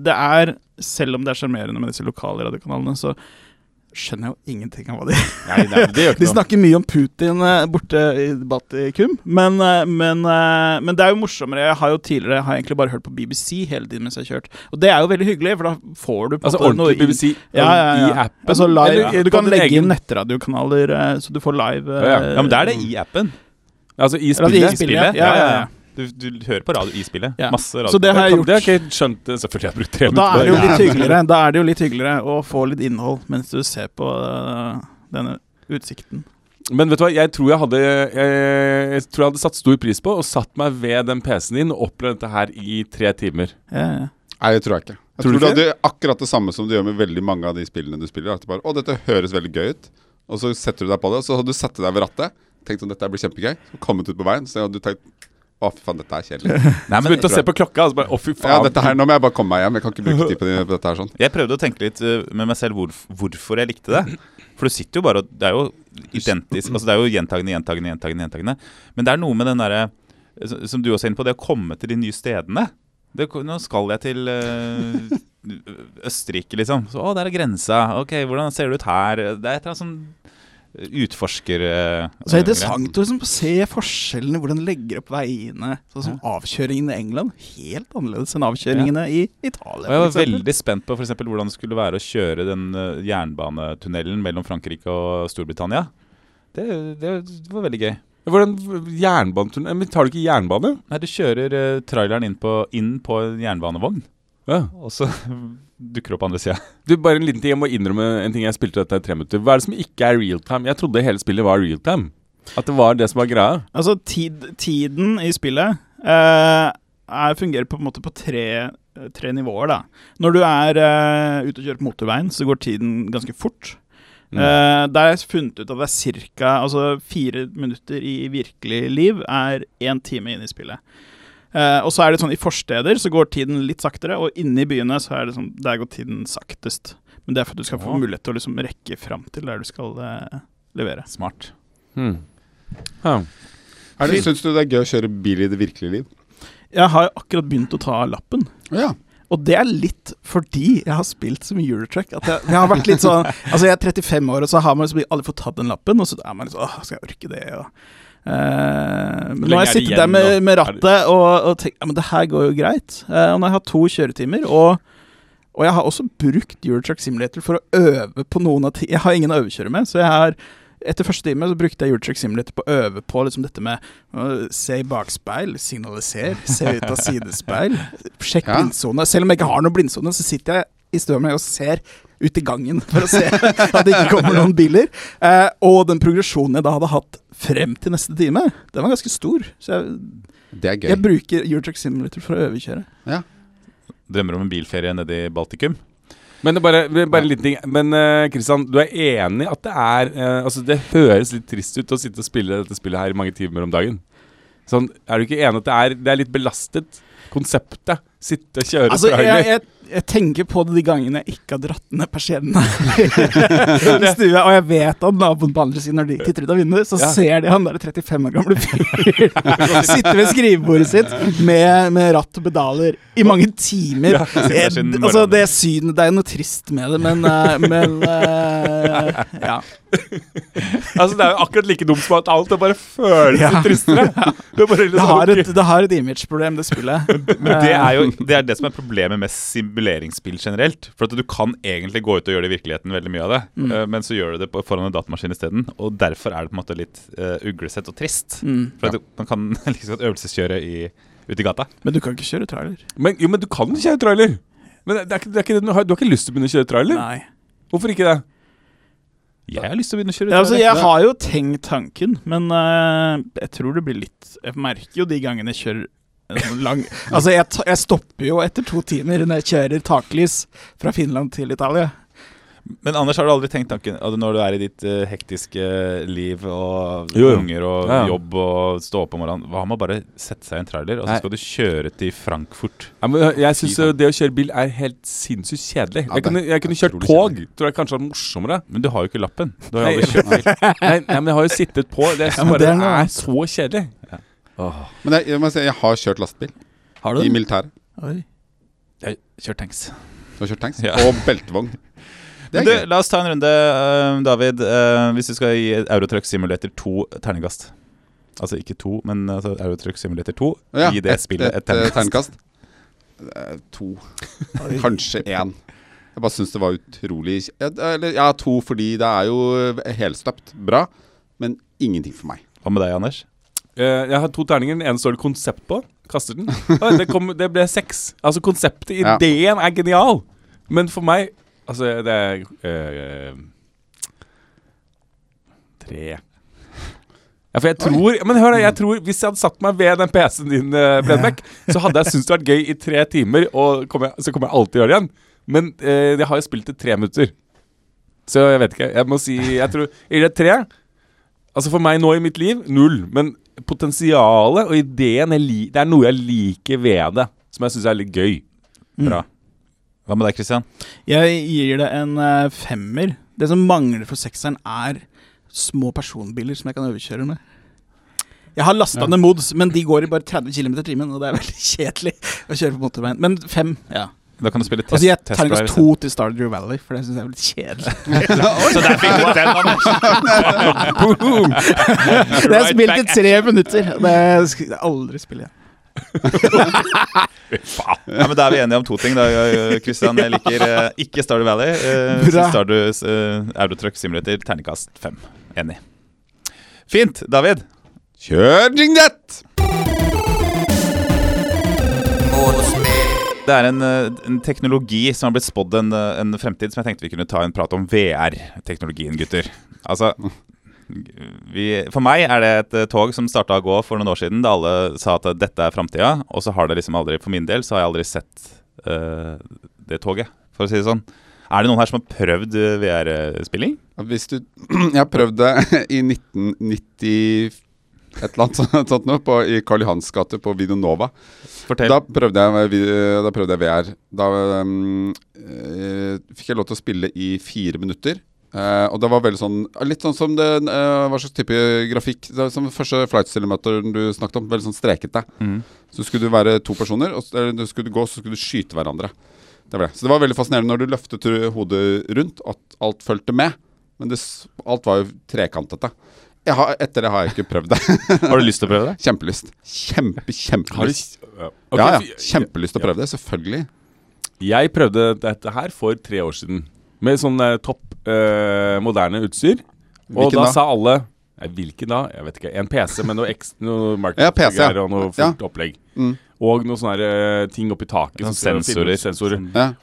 S6: Det er, selv om det er sjarmerende med disse lokale radiokanalene, så skjønner jo ingenting av hva de
S4: Nei, nei, det gjør ikke
S6: De
S4: noe.
S6: snakker mye om Putin eh, borte i Batikum, men, eh, men, eh, men det er jo morsommere. Jeg har jo tidligere har jeg egentlig bare hørt på BBC hele tiden mens jeg har kjørt. Og det er jo veldig hyggelig, for da får du på en
S3: Altså
S6: måte noe
S3: ordentlig
S6: i-
S3: BBC
S6: ja, ja, ja.
S3: i appen.
S6: Altså, live,
S3: Eller
S6: Du
S3: på
S6: kan
S3: din
S6: legge
S3: egen-
S6: inn nettradiokanaler, eh, så du får live eh,
S3: Ja, ja.
S4: Ja, men det er det i appen.
S3: Altså i
S6: Eller at
S3: spillet.
S6: de spiller.
S4: Ja, ja,
S6: ja.
S4: ja. Du, du hører på radio i spillet.
S6: Ja.
S4: Masse radio.
S6: Så det har jeg
S3: Det har
S6: gjort.
S3: ikke jeg skjønt eh, Selvfølgelig har jeg brukt tre
S6: Og da
S3: minutter
S6: er det jo
S3: på det.
S6: litt hyggeligere Da er det jo litt hyggeligere å få litt innhold mens du ser på eh, denne utsikten.
S3: Men vet du hva, jeg tror jeg hadde jeg, jeg tror jeg hadde satt stor pris på og satt meg ved den PC-en din og opplevd dette her i tre timer.
S6: Ja, ja.
S5: Nei, det tror jeg ikke. Jeg
S3: Tror
S5: tror,
S3: du
S5: du
S3: ikke
S5: hadde akkurat det samme som du gjør med veldig mange av de spillene du spiller. At du bare, å, dette høres veldig gøy ut. Og så setter du deg på det, og så hadde du satt deg ved rattet. Tenkt om dette blir kjempegøy. Så kommet ut på veien, så hadde du tenkt å, fy faen, dette er kjedelig.
S4: Nei,
S3: Så
S4: men
S3: begynte jeg å se på klokka, og så bare å, fy faen.
S5: Ja, dette her, nå må jeg bare komme meg hjem. Jeg kan ikke bruke tid på det- på dette her sånn.
S4: Jeg prøvde å tenke litt eh, med meg selv hvorf hvorfor jeg likte det. For du sitter jo bare og Det er jo identisk Altså det er jo gjentagende, gjentagende, gjentagende. gjentagende Men det er noe med den derre eh, s- Som du også er inne på, det å komme til de nye stedene. Det, ko- nå skal jeg til eh, Østerrike, liksom. Så, å, der er grensa. Ok, hvordan ser det ut her? Det er et eller annet sånn utforsker... eh,
S6: Så det er
S4: greie.
S6: interessant å liksom se forskjellene, hvordan de legger opp veiene. Sånn som avkjøringene i England. Helt annerledes enn avkjøringene i Italia.
S4: Og jeg var
S6: for eksempel.
S4: veldig spent på for eksempel, hvordan det skulle være å kjøre den eh, jernbanetunnelen mellom Frankrike og Storbritannia. Det, det var veldig gøy.
S3: Hvordan jernbanetunnel Men tar du ikke jernbane?
S4: Nei, du kjører eh, traileren inn på, inn på en jernbanevogn,
S3: Ja.
S4: og så dukker det opp på andre sida.
S3: Du, bare en liten ting Jeg må innrømme en ting jeg spilte dette i tre minutter. Hva er det som ikke er real time? Jeg trodde hele spillet var real time. At det var det som var greia.
S6: Altså, tid, tiden i spillet eh, er, fungerer på en måte på tre, tre nivåer, da. Når du er eh, ute og kjører på motorveien, så går tiden ganske fort.
S4: Mm.
S6: Eh, der har jeg funnet ut at det er cirka Altså fire minutter i virkelig liv er én time inn i spillet. Eh, og så er det sånn i forsteder så går tiden litt saktere, og inne i byene så er det sånn Der går tiden saktest. Men det er for at du skal få
S4: Ja.
S6: mulighet til å liksom rekke fram til der du skal eh, levere.
S4: Smart.
S3: Hmm. Ja.
S5: Er det- Syns du det er gøy å kjøre bil i det virkelige liv?
S6: Jeg har jo akkurat begynt å ta lappen.
S5: Ja.
S6: Og det er litt fordi jeg har spilt så mye Eurotrack at jeg, jeg har vært litt sånn Altså, jeg er 35 år, og så har man liksom aldri fått tatt den lappen, og så er man litt sånn Åh, skal jeg orke det? Og, eh, men nå
S3: lenge er det
S6: har jeg sittet
S3: igjen,
S6: der med,
S3: da?
S6: med
S3: Er det-
S6: rattet og, og tenkt Ja, men det her går jo greit. Eh, og nå har jeg hatt to kjøretimer, og og jeg har også brukt Eurotrack Simulator for å øve på noen av ti... Jeg har ingen å øvekjøre med, så jeg har etter første time så brukte jeg Eurotrack Simulator på å øve på liksom dette med øh, se i bakspeil, signaliser, se ut av sidespeil, sjekk
S5: Ja.
S6: blindsone. Selv om jeg ikke har noen blindsone, så sitter jeg i støvet og ser ut i gangen for å se at det ikke kommer noen biler. Eh, og den progresjonen jeg da hadde hatt frem til neste time, den var ganske stor. Så jeg,
S5: Det er gøy.
S6: jeg bruker Eurotrack Simulator for å øvekjøre.
S4: Drømmer om en bilferie nede i Baltikum.
S3: Men det er bare, det er bare en liten ting. Men eh, Christian, du er enig at det er eh, Altså, det høres litt trist ut å sitte og spille dette spillet her i mange timer om dagen. Sånn, Er du ikke enig at det er, det er litt belastet? Konseptet. Sitte, kjøre,
S6: Altså,
S3: trailer.
S6: jeg, jeg, jeg tenker på det de gangene jeg ikke har dratt ned persiennene i stua, og jeg vet at naboen på andre siden, når de titter ut av vinduet, så
S3: Ja.
S6: ser de han der 35 år gamle fyren sitte ved skrivebordet sitt med, med ratt og pedaler i mange timer.
S4: der
S6: Jeg-
S4: siden
S6: altså,
S4: morgenen.
S6: det synet Det er jo noe trist med det, men, eh, men eh, Ja.
S3: Altså, det er jo akkurat like dumt som at alt. Det bare føles litt tristere. Det, er bare litt
S6: Det
S3: sånn,
S6: har
S3: ok.
S6: et, det har et imageproblem, det spillet. Eh,
S4: Men det er jo det, er det som er problemet med simuleringsspill generelt. For at du kan egentlig gå ut og gjøre det i virkeligheten, veldig mye av det.
S6: Mm.
S4: eh, Men så gjør du det på, foran en datamaskin isteden. Og derfor er det på en måte litt eh, uglesett og trist.
S6: Mm.
S4: For at du, man kan liksom øvelseskjøre i, ute i gata.
S6: Men du kan ikke kjøre trailer.
S3: men, jo, men du kan kjøre trailer. Men det er ikke, det er ikke, det du, har, du har ikke lyst til å begynne å kjøre trailer?
S6: Nei.
S3: Hvorfor ikke det?
S4: Jeg har lyst til å begynne å kjøre.
S6: Ja, altså,
S4: trailer.
S6: jeg har jo tenkt tanken, men eh, jeg tror det blir litt Jeg merker jo de gangene jeg kjører en sånn lang Altså, jeg, ta- jeg stopper jo etter to timer når jeg kjører taklys fra Finland til Italia.
S4: Men Anders, har du aldri tenkt tanken at når du er i ditt eh, hektiske liv og
S3: Jo, jo.
S4: unger og
S3: Ja, ja.
S4: jobb og stå opp om morgenen, hva med å bare sette seg i en trailer, og så
S3: Nei.
S4: skal du kjøre til Frankfurt?
S3: Ja, men eh, jeg syns det å kjøre bil er helt sinnssykt kjedelig.
S5: Ja,
S3: Jeg kunne,
S5: det er
S3: jeg kunne kjørt
S5: utrolig
S3: tog. Tror jeg kanskje hadde vært morsommere.
S4: Men du har jo ikke lappen. Du har
S3: Nei,
S4: jo aldri kjørt bil.
S3: Nei, nei, men jeg har jo sittet på. Det, jeg synes
S6: Ja, men
S3: bare, det
S6: det er
S3: er,
S6: noe
S3: så kjedelig.
S5: Men jeg, jeg, må si, jeg har kjørt lastebil
S6: Har
S5: i militæret.
S6: Oi.
S4: Jeg kjørt tanks.
S5: Du har kjørt tanks?
S4: Ja.
S5: Og beltevogn. Det er
S4: Men du,
S5: gøy.
S4: la oss ta en runde, eh, David. eh, hvis du skal gi Eurotruck Simulator 2 terningkast. Altså ikke to, men altså, Eurotruck Simulator 2.
S5: Ja,
S4: gi det spillet et,
S5: eh,
S4: terningkast.
S5: terningkast. Eh, To. Kanskje én. Jeg bare syns det var utrolig kj- eh, Eller ja, to, fordi det er jo eh, helstøpt bra, men ingenting for meg.
S4: Hva med deg, Anders?
S3: Eh, jeg har to terninger. Den ene står det konsept på. Kaster den. Og det, kom, det ble seks. Altså, konseptet,
S5: Ja.
S3: ideen, er genial. Men for meg Altså, det er eh, Tre. Ja, for jeg tror Men hør da, jeg tror Hvis jeg hadde satt meg ved den PC-en din, uh, Bredbekk, så hadde jeg syntes det vært gøy i tre timer, og kommer jeg, så kommer jeg alltid gjøre det igjen. Men eh, jeg har jo spilt i tre minutter. Så jeg vet ikke. Jeg må si Jeg tror I det tre Altså For meg nå i mitt liv null. Men potensialet og ideen jeg li Det er noe jeg liker ved det, som jeg syns er litt gøy.
S4: Bra. Hva med deg, Christian?
S6: Jeg gir det en eh, femmer. Det som mangler for sekseren, er små personbiler som jeg kan overkjøre med. Jeg har lasta ned mods, men de går i bare 30 km i timen, og det er veldig kjedelig å kjøre på motorveien. Men fem, ja.
S4: Da kan du spille
S6: Og
S4: test,
S6: så gir jeg
S4: test drive isteden.
S6: Altså, terningkast to til Stardew Valley, for det syns jeg er litt kjedelig.
S4: Så der fikk du den, Anders.
S3: Boom!
S6: Det har jeg
S4: Right
S6: spilt
S4: back
S6: i tre minutter. Det skal jeg aldri spille igjen.
S4: Ja, men Da er vi enige om to ting. da, eh, Christian Jeg liker eh, ikke Stardew Valley. eh,
S6: Bra.
S4: så Stardew eh, Eurotruck Simulator terningkast fem. Enig. Fint, David.
S5: Kjør jinglet!
S4: Det er en, eh, en teknologi som har blitt spådd en, eh, en fremtid som jeg tenkte vi kunne ta en prat om VR-teknologien, gutter. Altså vi, For meg er det et eh, tog som starta å gå for noen år siden, da alle sa at eh, dette er framtida, og så har det liksom aldri For min del så har jeg aldri sett eh, det toget, for å si det sånn. Er det noen her som har prøvd eh, VR-spilling?
S5: Hvis du Jeg har prøvd det i 1990 et eller annet sånt- sånt nå, på, i Karl Johans gate på Videonova.
S4: Fortell.
S5: Da prøvde jeg, vi- da prøvde jeg VR. Da um, eh, fikk jeg lov til å spille i fire minutter. Eh, og det var veldig sånn Litt sånn som det, eh, hva slags type grafikk det var Som den første flight simulatoren du snakket om. Veldig sånn strekete. Så skulle du være to personer, og s- eller, du skulle gå, så skulle du skyte hverandre. Det var det. Så det var veldig fascinerende når du løftet ru- hodet rundt, at alt fulgte med. Men det, s- alt var jo trekantete. Jeg har, etter det har jeg ikke prøvd det.
S4: Har du lyst til å prøve det?
S5: Kjempelyst. Kjempe, kjempelyst.
S3: Ok,
S5: Ja,
S3: for
S5: ja.
S3: jeg-
S5: Kjempelyst til å prøve det, selvfølgelig.
S3: Jeg prøvde dette her for tre år siden. Med sånn eh, topp eh, moderne utstyr. Og
S5: Hvilken
S3: da,
S5: da?
S3: sa alle Nei, hvilken da? Jeg vet ikke. En PC med noe, eks- noe
S5: Ja, PC, ja.
S3: markedsgreier og noe
S5: Ja.
S3: fullt opplegg. Og noen sånne her, eh, ting oppi taket.
S4: Sånn
S3: som skal filme-
S4: Mm. sensorer.
S3: sensorer.
S5: Ja.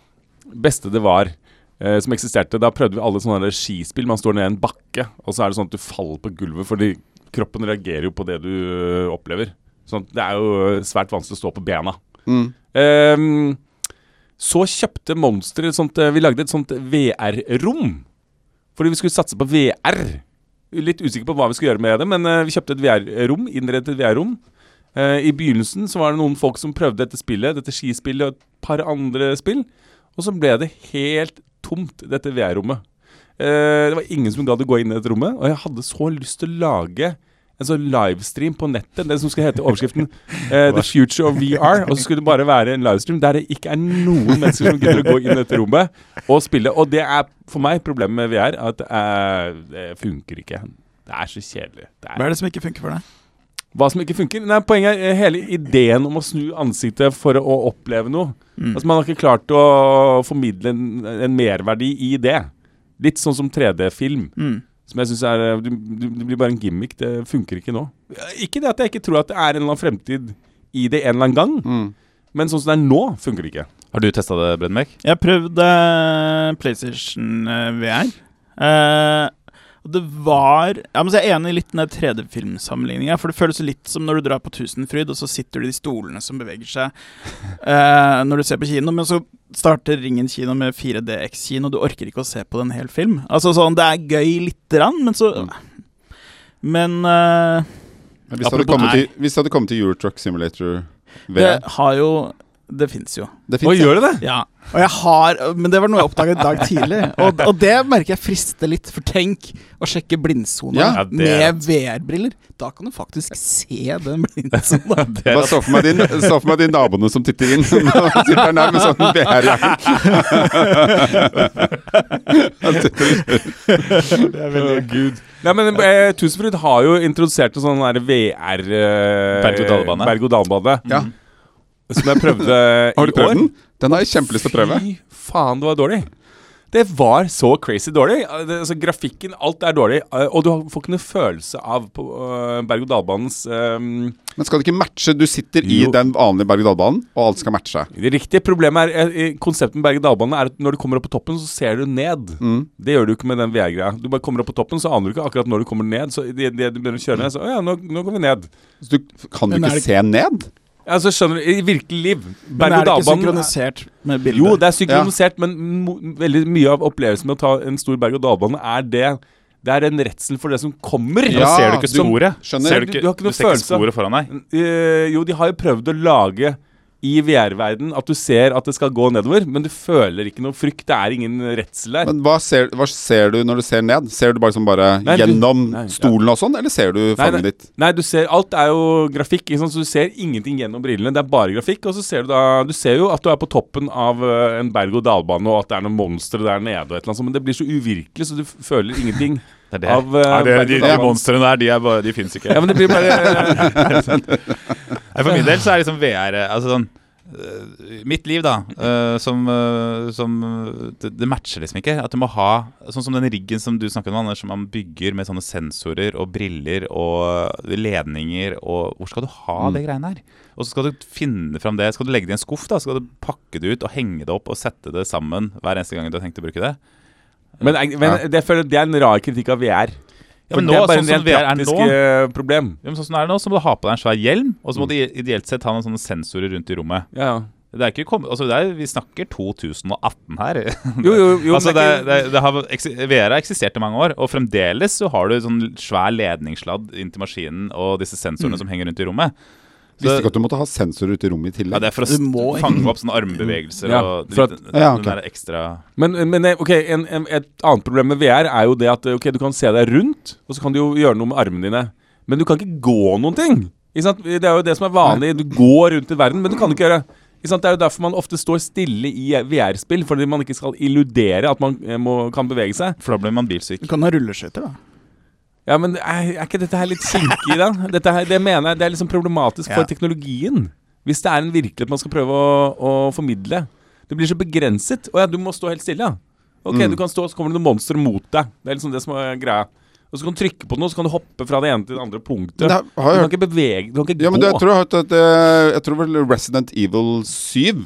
S3: beste det var eh, som eksisterte. Da prøvde vi alle sånne der skispill. Man står ned i en bakke, og så er det sånn at du faller på gulvet fordi kroppen reagerer jo på det du ø, opplever. Sånn, at det er jo ø, svært vanskelig å stå på bena. Ehm, så kjøpte Monster et sånt eh, Vi lagde et sånt VR-rom. Fordi vi skulle satse på VR. Litt usikker på hva vi skulle gjøre med det, men eh, vi kjøpte et VR-rom. Innredet et VR-rom. Eh, I begynnelsen så var det noen folk som prøvde dette spillet, dette skispillet og et par andre spill. Og så ble det helt tomt, dette VR-rommet. Eh, det var ingen som gadd å gå inn i dette rommet, og jeg hadde så lyst til å lage en sånn livestream på nettet, det som skal hete overskriften eh, 'The Future of VR'. Og så skulle det bare være en livestream der det ikke er noen mennesker som gidder å gå inn i dette rommet og spille. Og det er for meg problemet med VR, at det, er, det funker ikke. Det er så kjedelig. Det er
S6: Hva er det som ikke funker for deg?
S3: hva som ikke funker. Nei, Poenget er eh, hele ideen om å snu ansiktet for å oppleve noe.
S5: Mm.
S3: Altså Man har ikke klart å formidle en, en merverdi i det. Litt sånn som 3D-film.
S5: Mm.
S3: Som jeg synes er eh, du, du, Det blir bare en gimmick. Det funker ikke nå. Eh, Ikke det at jeg ikke tror at det er en eller annen fremtid i det en eller annen gang,
S5: Mm.
S3: men sånn som det er nå, funker det ikke.
S4: Har du testa det, Bredmek?
S6: Jeg prøvde PlayStation eh, VR. Eh, og det var ja, men så er Jeg er enig i litt den der 3D-filmsammenligninga. For det føles litt som når du drar på Tusenfryd, og så sitter du i de stolene som beveger seg eh, når du ser på kino, men så starter Ringen kino med 4DX-kino, og du orker ikke å se på en hel film. Altså sånn, Det er gøy lite grann, men så Men eh,
S5: Men Hvis det, hadde
S6: Apropos-
S5: kommet til, hvis det hadde kommet til Eurotruck Simulator
S6: det
S5: VR
S6: har jo Det fins jo.
S5: Det
S3: Å,
S5: finnes,
S3: gjør det det?
S6: Ja. Og jeg har, men det var noe jeg oppdaget i dag tidlig. Og, og det merker jeg frister litt. For tenk å sjekke blindsona
S5: Ja,
S4: det er-
S6: med VR-briller. Da kan du faktisk se den blindsona.
S4: Det
S5: Bare
S4: er
S5: så for meg de, så for meg de naboene som titter inn. Når de sitter der med sånn VR-jakke.
S3: Nei, men eh, Tusenfryd har jo introdusert en sånn der VR eh,
S4: Berg-og-dal-bane.
S3: Berg-og-dal-bane.
S5: Ja.
S3: Som jeg prøvde i
S5: Har du
S3: år.
S5: prøvd den? Den har jeg kjempelyst til å prøve.
S3: Fy faen, det var dårlig. Det var så crazy dårlig. Eh, Det, altså, grafikken, alt er dårlig. Eh, Og du har- får ikke noe følelse av på eh, berg-og-dal-banens eh,
S5: Men skal det ikke matche? Du sitter i
S3: Jo.
S5: den vanlige berg-og-dal-banen, og alt skal matche.
S3: Det riktige problemet er eh, Konseptet med berg-og-dal-banen er at når du kommer opp på toppen, så ser du ned. Det gjør du ikke med den VR-greia. Du bare kommer opp på toppen, så aner du ikke akkurat når du kommer ned. Så det det du begynner å kjøre ned, så Å ja, nå, nå går vi ned.
S5: Så du kan jo
S6: Men er
S5: ikke
S6: det-
S5: se ned.
S3: Altså, skjønner du, I virkelig liv.
S6: Men er det ikke
S3: Berg-og-dal-banen
S6: synkronisert med bildet?
S3: Jo, det er synkronisert, men mo veldig mye av opplevelsen med å ta en stor berg-og-dal-bane er det Det er en redsel for det som kommer.
S5: Ja,
S4: Da ser du ikke
S3: som-
S4: sporet.
S5: skjønner.
S4: Ser Ah, du,
S3: Du-
S4: ikke,
S3: du har ikke
S4: du
S3: noe
S4: ser ikke
S3: følelse av-
S4: sporet foran deg.
S3: Eh, jo, de har jo prøvd å lage i VR-verden at du ser at det skal gå nedover, men du føler ikke noe frykt. Det er ingen redsel der.
S5: Men hva ser, hva ser du når du ser ned? Ser du bare, sånn bare
S3: Nei, du-
S5: gjennom
S3: nei, ja.
S5: stolen og sånn, eller ser du
S3: Nei,
S5: fanget
S3: nei,
S5: ditt?
S3: nei, du ser Alt er jo grafikk, ikke sant? så du ser ingenting gjennom brillene. Det er bare grafikk. Og så ser du da Du ser jo at du er på toppen av eh, en berg-og-dal-bane, og at det er noen monstre der nede, og et eller annet sånt, men det blir så uvirkelig, så du f- føler ingenting
S4: Det er det.
S3: av eh,
S4: Nei, det, de, de
S3: berg-og-dal-banen.
S4: monstrene der, de, er bare, de finnes ikke.
S3: Ja, men det blir bare
S4: Nei, for min del så er liksom VR eh, Altså sånn eh, Mitt liv, da, eh, som, eh, som eh, det, det matcher liksom ikke. At du må ha Sånn som den riggen som du snakker om, Anders, som man bygger med sånne sensorer og briller og eh, ledninger og Hvor skal du ha
S3: Mm.
S4: det greiene her? Og så skal du finne fram det. Skal du legge det i en skuff? da Skal du pakke det ut og henge det opp og sette det sammen hver eneste gang du har tenkt å bruke det?
S3: Men, jeg- men det, jeg føler, det er en rar kritikk av VR.
S4: Ja, men
S3: For det
S4: nå,
S3: er bare
S4: sånn
S3: en
S4: som
S3: rent
S4: VR er nå-
S3: praktisk eh, Mm. problem.
S4: Ja, men sånn som det er nå, så må du ha på deg en svær hjelm, og så må du i- ideelt sett ha noen sånne sensorer rundt i rommet.
S3: Ja, ja.
S4: Det er ikke kom, altså det er, vi snakker 2018 her.
S3: Jo, jo, jo,
S4: altså
S3: men
S4: det,
S3: det er
S4: det, det har, eksi- VR har eksistert i mange år, og fremdeles så har du sånn svær ledningssladd inn til maskinen og disse sensorene som henger rundt i rommet. Så,
S5: Visste ikke at du måtte ha sensorer ute i rommet i tillegg.
S4: ja, det er for å
S6: Du må
S4: s- fange opp sånne armbevegelser
S3: Ja,
S4: og
S3: for
S4: litt,
S3: at-
S5: Ja, ok.
S4: den der ekstra
S3: Men, men eh, ok, en, en, et annet problem med VR er jo det at eh, ok, du kan se deg rundt, og så kan du jo gjøre noe med armene dine. Men du kan ikke gå noen ting. Ikke sant? Det er jo det som er vanlig. Du går rundt i verden, men du kan ikke gjøre ikke sant? Det er jo derfor man ofte står stille i eh, VR-spill, fordi man ikke skal illudere at man eh, må, kan bevege seg.
S4: For da blir man bilsyk.
S6: Du kan ha rulleskøyter, da.
S3: Ja, men er, er ikke dette her litt kinkig, da? Dette her, det mener jeg det er liksom problematisk for
S6: Ja.
S3: teknologien. Hvis det er en virkelighet man skal prøve å, å formidle. Det blir så begrenset. Å ja, du må stå helt stille, ja. Ok,
S5: Mm.
S3: du kan stå, så kommer det noen monstre mot deg. Det er liksom det som er greia. Og så kan du trykke på noe, så kan du hoppe fra det ene til det andre punktet.
S5: Men det har-
S3: du
S5: har jeg
S3: kan ikke bevege Du kan ikke
S5: Ja, men
S3: gå.
S5: du, jeg tror, jeg, har hørt at, eh, jeg tror vel Resident Evil 7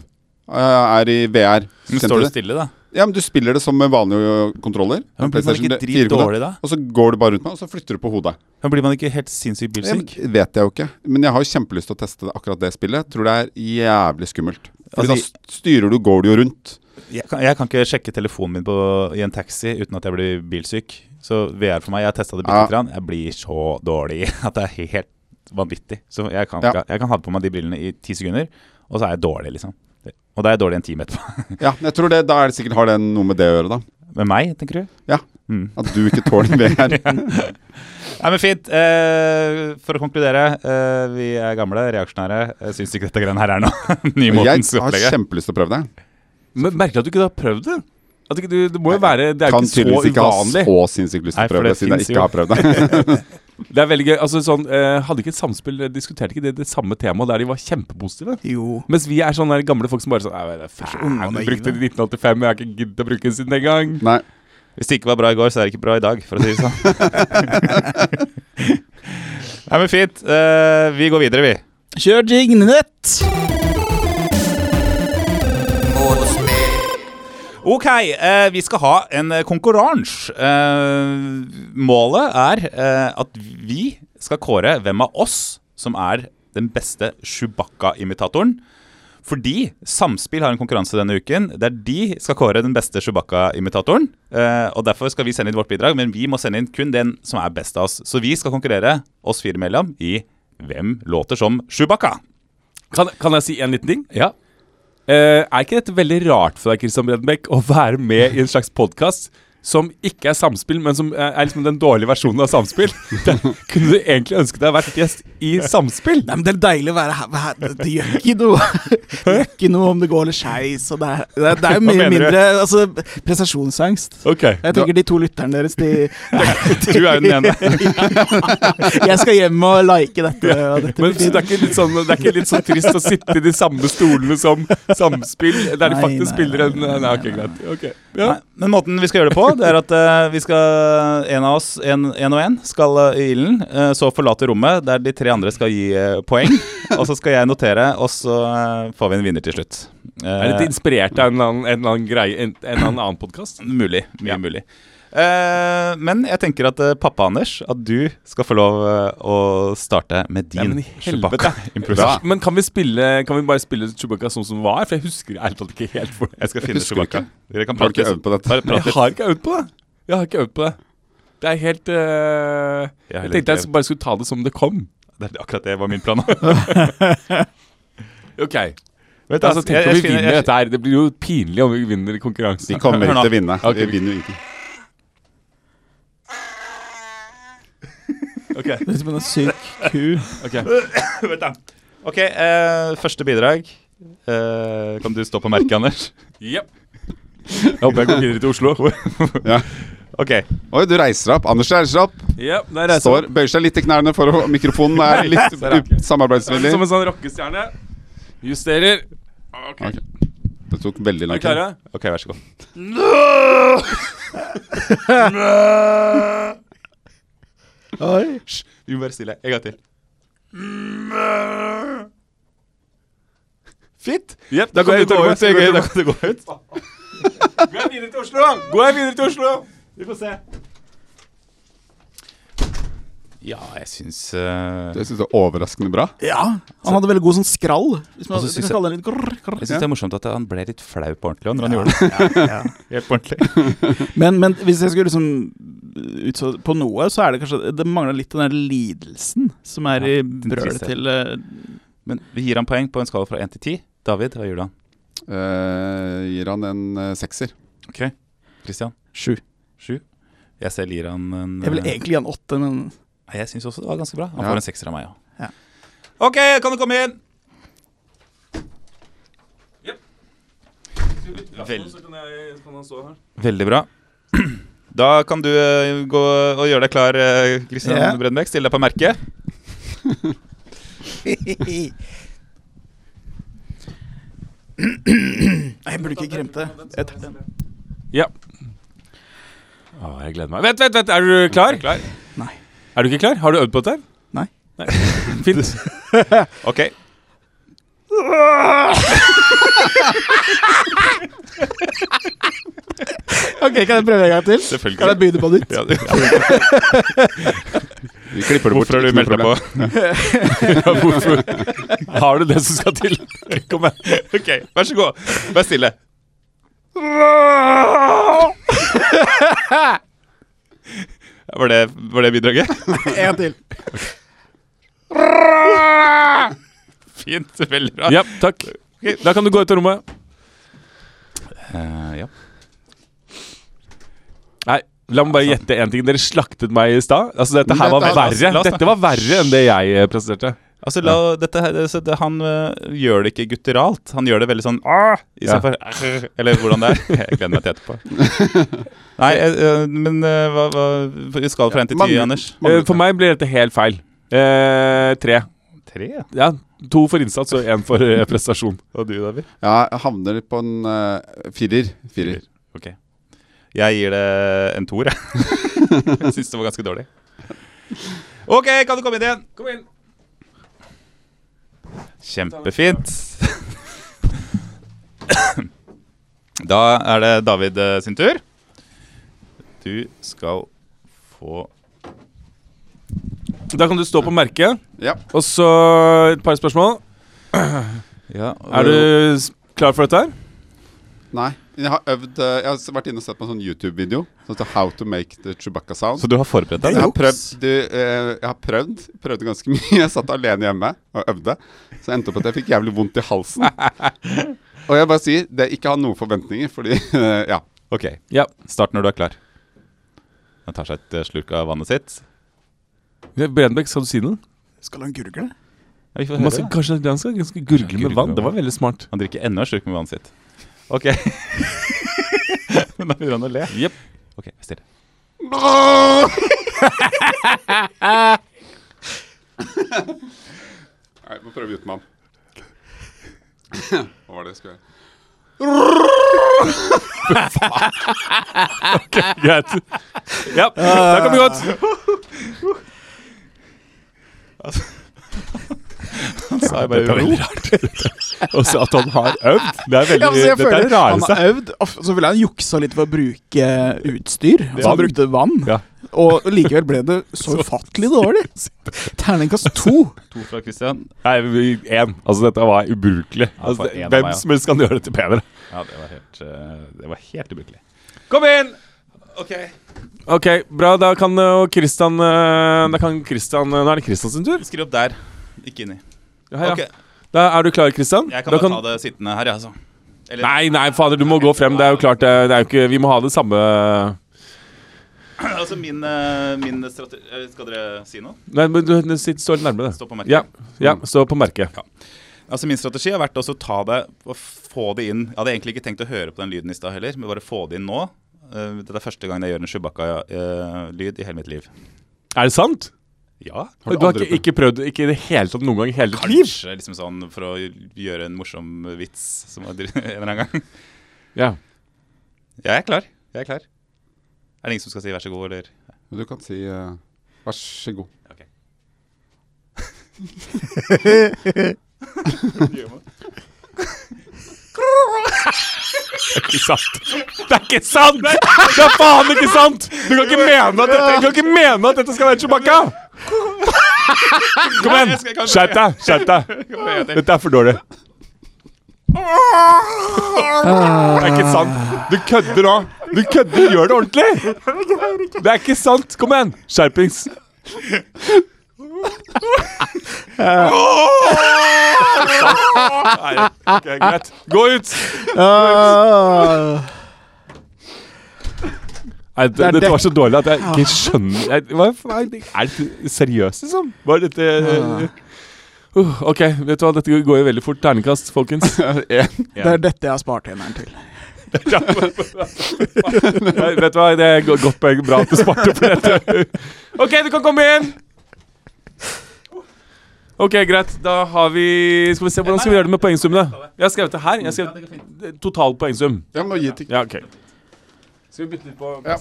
S5: eh, er i VR.
S4: Men
S5: Kjente
S4: står du
S5: det?
S4: stille, da?
S5: Ja, men Du spiller det som med vanlige kontroller.
S4: Ja, men blir man
S5: PlayStation
S4: ikke
S5: 4 -kontroller,
S4: dritdårlig da?
S5: Og så går du bare rundt med, og så flytter du på hodet.
S4: Ja, Blir man ikke helt sinnssykt
S5: Ja, men
S4: bilsyk?
S5: Det vet jeg jo ikke. Men jeg har jo kjempelyst til å teste det- akkurat det spillet. Jeg tror det er jævlig skummelt. Fordi
S4: Altså,
S5: da s- styrer du, går du jo rundt.
S4: Jeg kan, jeg kan ikke sjekke telefonen min på, i en taxi uten at jeg blir bilsyk. Så VR for meg, jeg har testa det bitte
S5: Ja.
S4: litt. grann. Jeg blir så dårlig at det er helt vanvittig. Så jeg kan,
S5: Ja.
S4: ikke- jeg kan ha på meg de brillene i ti sekunder, og så er jeg dårlig, liksom. Og da er jeg dårlig en time etterpå.
S5: Ja, men jeg tror det, Da er det sikkert har det noe med det å gjøre, da.
S4: Med meg, tenker du?
S5: Ja,
S4: Mm.
S5: At du ikke tåler VR.
S4: Nei, men fint. Eh, for å konkludere, eh, vi er gamle, reaksjonære. Jeg syns ikke dette greiene her er noe nymotens
S5: Jeg har
S4: opplegg.
S5: kjempelyst til å prøve det.
S3: Men merkelig at du ikke har prøvd det. At ikke, du, det må jo være Det er jo
S5: Kan
S3: ikke så
S5: tydeligvis ikke ha
S3: uvanlig.
S5: så sinnssykt lyst til
S4: Nei,
S5: å
S4: for
S5: prøve
S4: det
S5: det, siden jeg
S4: finnes
S5: ikke
S4: jo.
S5: har prøvd det.
S3: Det er veldig gøy. Altså sånn eh, Hadde ikke et samspill eh, diskutert ikke det, det samme temaet der de var kjempepositive?
S6: Jo.
S3: Mens vi er sånne der gamle folk som bare sånn «Nei, det er faen,
S6: unge og
S3: Jeg
S6: naive».
S3: brukte det i 1985, jeg har ikke giddet å bruke det siden den gang.
S5: Nei.
S4: Hvis det ikke var bra i går, så er det ikke bra i dag, for å si det sånn. Nei, men fint. Eh, vi går videre, vi.
S6: Kjør jignet!
S4: Ok, eh, vi skal ha en eh, konkurranse. Eh, målet er eh, at vi skal kåre hvem av oss som er den beste Chewbacca-imitatoren. Fordi Samspill har en konkurranse denne uken der de skal kåre den beste Chewbacca-imitatoren. Eh, og Derfor skal vi sende inn vårt bidrag, men vi må sende inn kun den som er best av oss. Så vi skal konkurrere oss fire imellom i Hvem låter som Chewbacca?
S3: Kan, kan jeg si en liten ting?
S4: Ja.
S3: Eh, er ikke dette veldig rart for deg, Christian Bredenbeck, å være med i en slags podkast som ikke er samspill, men som eh, er liksom den dårlige versjonen av samspill? Det, kunne du egentlig ønske deg å vært gjest i samspill?
S6: Nei, men Det er deilig å være her. her- Det, det gjør ikke noe Det gjør ikke noe om det går litt skeis. og Det, er- det, er- det er jo mye
S3: mener du?
S6: mindre altså, prestasjonsangst.
S3: Ok.
S6: Jeg tenker de to lytterne deres de,
S4: Du er jo den ene.
S6: Jeg skal hjem og like dette. Og dette
S3: Men
S6: blir
S3: så det, er ikke litt sånn, det er ikke litt sånn trist å sitte i de samme stolene som samspill, der de
S6: Nei,
S3: faktisk
S6: nei,
S3: spiller en
S6: nei,
S3: Nei,
S6: nei,
S3: ok,
S6: nei,
S3: greit. Ok. Ja.
S4: Nei, men måten vi skal gjøre det på, det er at eh, vi skal en av oss, en, en og en, skal eh, i ilden. eh, så forlate rommet, der de tre andre skal gi eh, poeng. og så skal jeg notere, og så eh, får vi en vinner til slutt.
S3: Jeg er
S4: Eh,
S3: litt inspirert av en eller annen, en eller annen greie, en, en eller annen podkast.
S4: Eh, mulig. Mye mulig. Eh, men jeg tenker at eh, pappa Anders, at du skal få lov eh, å starte med
S3: Nei,
S4: din
S3: men i helvete.
S4: Chewbacca-improvisasjon.
S3: Men kan vi, spille, kan vi bare spille Chewbacca sånn som var? For jeg husker ærlig talt ikke helt hvor
S4: Jeg skal
S5: Jeg
S4: finne
S5: husker
S4: Chewbacca.
S5: ikke.
S4: Dere kan
S5: Har du
S4: prate
S5: ikke øvd
S4: litt.
S5: på dette?
S4: Bare prate
S3: Jeg
S4: litt.
S3: har ikke øvd på det. Jeg har ikke øvd på det. Det er helt øh,
S4: Jeg har
S3: Jeg
S4: heller
S3: tenkte jeg
S4: ikke
S3: bare skulle ta det som det kom.
S4: Det er akkurat det var min plan.
S3: Ok.
S4: Vet du,
S3: Altså, tenk
S4: jeg- jeg
S3: om vi
S4: finner-
S3: vinner
S4: jeg-
S3: dette her. Det blir jo pinlig om vi vinner
S5: De
S3: konkurransen.
S5: kommer
S4: Hør nå.
S5: ikke til å vinne.
S3: Ok.
S5: De vinner jo ingenting.
S4: Ok.
S6: Det er som en syk ku.
S4: Vent da. Ok, eh, første bidrag. Eh, kan du stå på merket, Anders?
S3: Jep. Jeg håper jeg går videre til Oslo.
S5: Ja.
S4: Ok.
S5: Oi, du reiser deg opp. Anders reiser seg opp.
S3: Jep, der reiser
S5: Står, bøyer seg litt i knærne for å Mikrofonen er litt u-
S3: jeg meg. Som
S5: samarbeidsvillig.
S3: en sånn rockestjerne. Justerer. Ok,
S5: Ok. Det tok veldig lang
S3: er
S5: tid.
S3: klare?
S4: Ok, vær så god.
S6: Oi.
S4: Hysj, vi må være stille. En gang til. Fint.
S3: Jep,
S4: Da kan du gå ut.
S3: Da
S4: Da
S3: går
S4: kan du gå ut.
S3: jeg videre til Oslo. Går jeg videre til Oslo?
S4: Vi får se. Ja, jeg syns eh,
S5: Jeg syns det er overraskende bra.
S6: Ja, han hadde veldig god sånn skrall. Hvis man,
S4: Og så
S6: hvis man
S4: synes
S6: kaller den litt grrr, grrr.
S4: Jeg synes det er morsomt at han ble litt flau på ordentlig når han gjorde det. Helt på ordentlig.
S6: Men, men hvis jeg skulle liksom utstå på noe, så er det kanskje Det mangler litt den der lidelsen som er
S4: Ja,
S6: i
S4: den
S6: brølet
S4: tristhet.
S6: til eh,
S4: Men vi gir han poeng på en skala fra 1 til 10. David, hva gjør du han?
S5: Eh, gir han en eh, sekser.
S4: Ok. Christian?
S6: Sju.
S4: 7. Jeg selv gir han en
S6: Jeg vil
S4: eh,
S6: egentlig gi han åtte, men
S4: Nei, Jeg syns også det var ganske bra. Han
S5: Ja.
S4: får en sekser av meg òg.
S6: Ja.
S4: OK, kan du komme inn? Vel. Veldig bra. Da kan du eh, gå og gjøre deg klar, eh, Christian
S6: Ja.
S4: Brøndbekk. Stille deg på merket.
S6: Nei, jeg burde ikke glemt det. Jeg tar den.
S3: Ja. Å, jeg gleder meg. Vent, vent, vent, er du klar?
S6: Nei.
S3: Er du ikke klar? Har du øvd på dette? her?
S6: Nei.
S3: Fint.
S4: OK.
S6: Ok, Kan jeg prøve en gang til?
S4: Selvfølgelig.
S6: Kan jeg begynne på nytt?
S4: Ja, du,
S5: Vi klipper det bort.
S4: hvorfor har du
S5: ikke noe
S4: meldt deg på?
S5: problem.
S3: Ja, hvorfor? Har du det som skal til? Kom her.
S4: OK, vær så god. Vær stille. Var det, var det bidraget?
S6: En til.
S4: Fint. Veldig bra.
S3: Ja, takk. Da kan du gå ut av rommet.
S4: Eh, ja.
S3: Nei, la meg bare gjette én ting. Dere slaktet meg i stad. Altså, dette her var
S5: Dette- la oss-
S4: la
S3: verre.
S4: oss-
S3: Dette var verre enn det jeg eh, presterte.
S4: Altså, la, dette her, altså, det, Han øh, gjør det ikke gutteralt. Han gjør det veldig sånn ah,
S3: Ja.
S4: istedenfor for Eller hvordan det er. Jeg gleder meg til etterpå. Nei, jeg, øh, men øh, hva, hva Skal fra 1 til 10,
S5: mange-
S4: Anders?
S3: Eh, For meg blir dette helt feil. Eh, tre.
S4: Tre, ja.
S3: Ja, to for innsats og én for eh, prestasjon.
S4: Og du, David?
S5: Ja, jeg havner på en eh, firer. Firer.
S4: Ok. Jeg gir det en toer, jeg. jeg syns det var ganske dårlig. OK, kan du komme inn igjen? Kom inn. Kjempefint. Da er det David eh, sin tur. Du skal få
S3: Da kan du stå på merket.
S5: Ja.
S3: Og så et par spørsmål.
S4: ja,
S3: Er du s- klar for dette her?
S5: Nei. Jeg har øvd eh, Jeg har s- vært inne og sett på en sånn YouTube-video som heter How to make the Chewbacca sound.
S4: Så du har forberedt deg?
S5: jeg,
S4: du?
S5: har prøvd, du, eh, jeg har prøvd Prøvde ganske mye. Jeg satt alene hjemme og øvde. Så jeg endte opp at jeg fikk jævlig vondt i halsen. Og jeg bare sier, det er ikke ha noen forventninger, fordi eh, Ja.
S4: Ok,
S3: Ja.
S4: start når du er klar. Han tar seg et eh, slurk av vannet sitt.
S3: Brenbekk, skal du si noe?
S6: Skal han gurgle?
S4: Ja, vi får
S3: Man
S4: høre
S3: skal,
S4: det.
S3: kanskje han skal, han skal gurgle
S4: Gurgle
S3: med vann?
S4: med
S3: Det var
S4: vann.
S3: veldig smart.
S4: Han drikker enda en slurk med vannet sitt. Ok. Men da begynner han å le.
S3: Jep.
S4: Ok, vær stille.
S5: Nei, må prøve uten ham. Hva var det jeg skulle gjøre?
S3: Greit. Ja, da kan vi godt.
S4: Han sa
S3: Dette er veldig rart. Og så at han har øvd. Det er veldig,
S6: Ja, altså, jeg
S3: dette er
S6: føler
S3: det
S6: han
S3: rareste.
S6: har øvd, og f- så ville han juksa litt ved å bruke utstyr. Altså, han
S3: Vann.
S6: brukte vann,
S3: Ja.
S6: og likevel ble det så ufattelig dårlig. Terningkast to.
S4: To fra Christian.
S3: Nei, én. Altså, dette var ubrukelig. Altså,
S4: for
S3: det-
S4: en av
S3: hvem
S4: meg, ja.
S3: som helst kan gjøre dette bedre.
S4: Ja, det var helt, eh, det var helt ubrukelig.
S3: Kom inn!
S4: Ok.
S3: Ok, bra. Da kan jo Christian eh, Da kan Christian eh, Nå er det Christian sin tur.
S4: Skriv opp der. Ikke inni.
S3: Ja, ja.
S4: Ok,
S3: Da er du klar, Christian?
S4: jeg kan
S3: da
S4: bare ta det sittende her, jeg, altså. Eller,
S3: Nei, nei, fader, du må gå frem. Det er jo klart, eh, det det er jo ikke Vi må ha det samme
S4: altså min, eh, min strategi eh, Skal dere si noe?
S3: Nei, men du, du sitter- stå litt nærmere det.
S4: Stå på merket.
S3: Ja, ja, stå på merket.
S4: Altså Min strategi har vært også å ta det og få det inn. Jeg hadde egentlig ikke tenkt å høre på den lyden i stad heller, men bare få det inn nå. Eh, Dette er første gang jeg gjør en Chewbacca-lyd i hele mitt liv.
S3: Er det sant?
S4: Ja,
S3: Du har ikke, ikke prøvd ikke i det hele tatt noen gang i hele ditt liv?
S4: Kanskje liksom sånn for å gjøre en morsom vits som var en eller annen gang.
S3: Ja.
S4: Jeg er klar. Jeg er klar. Er det ingen som skal si vær så god, eller?
S5: Men Du kan si eh, vær så god.
S3: Ikke sant. Det er ikke sant! Det er faen ikke sant! Du kan ikke mene at dette, du kan ikke mene at dette skal være Chewbacca! Kom igjen! Skjerp deg! Skjerp deg! Dette er for dårlig. Det er ikke sant. Du kødder nå. Du kødder. Gjør det ordentlig! Det er ikke sant. Kom igjen. Skjerpings. Nei, ok, greit. Gå ut!
S6: Ah.
S3: Nei, det, Ah. dette var så dårlig at jeg ikke skjønner jeg, hva, faen- Er det seriøst, liksom? Var dette Ah. uh, OK, vet du hva, dette går jo veldig fort. Ternekast, folkens.
S5: En.
S6: Det er dette jeg har spart eneren til.
S3: Nei, vet du hva, det er go- godt poeng. Bra at du sparte på dette. OK, du kan komme inn! OK, greit. Da har vi Skal vi se, Hvordan skal vi gjøre det med poengsummene? Jeg har skrevet det her. Jeg har skrevet total poengsum.
S5: Ja, men gi til
S3: Ja, OK. Skal vi bytte litt på
S5: Ja.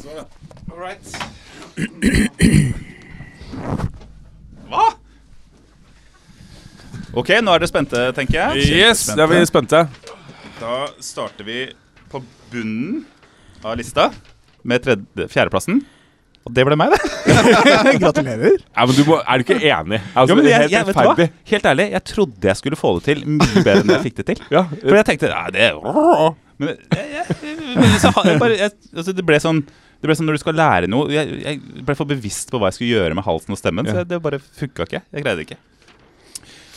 S4: Hva? Ok, nå er dere spente, tenker jeg.
S3: Yes, da er vi spente.
S4: Da starter vi på bunnen av lista med tredje, fjerdeplassen. Og det ble meg, det.
S6: Gratulerer.
S3: Ja, men du må, Er du ikke enig? Altså,
S4: Ja, men
S3: det er
S4: jeg, jeg,
S3: helt
S4: vet du hva?
S3: rettferdig.
S4: Helt ærlig, jeg trodde jeg skulle få det til mye bedre enn jeg fikk det til.
S3: Ja,
S4: For jeg tenkte Nei, det Men eh, jeg, jeg, men så har jeg bare, jeg, altså, det ble sånn det ble sånn Når du skal lære noe Jeg, jeg ble for bevisst på hva jeg skulle gjøre med halsen og stemmen. Så
S3: Ja.
S4: jeg, det bare funka ikke. Jeg greide det ikke.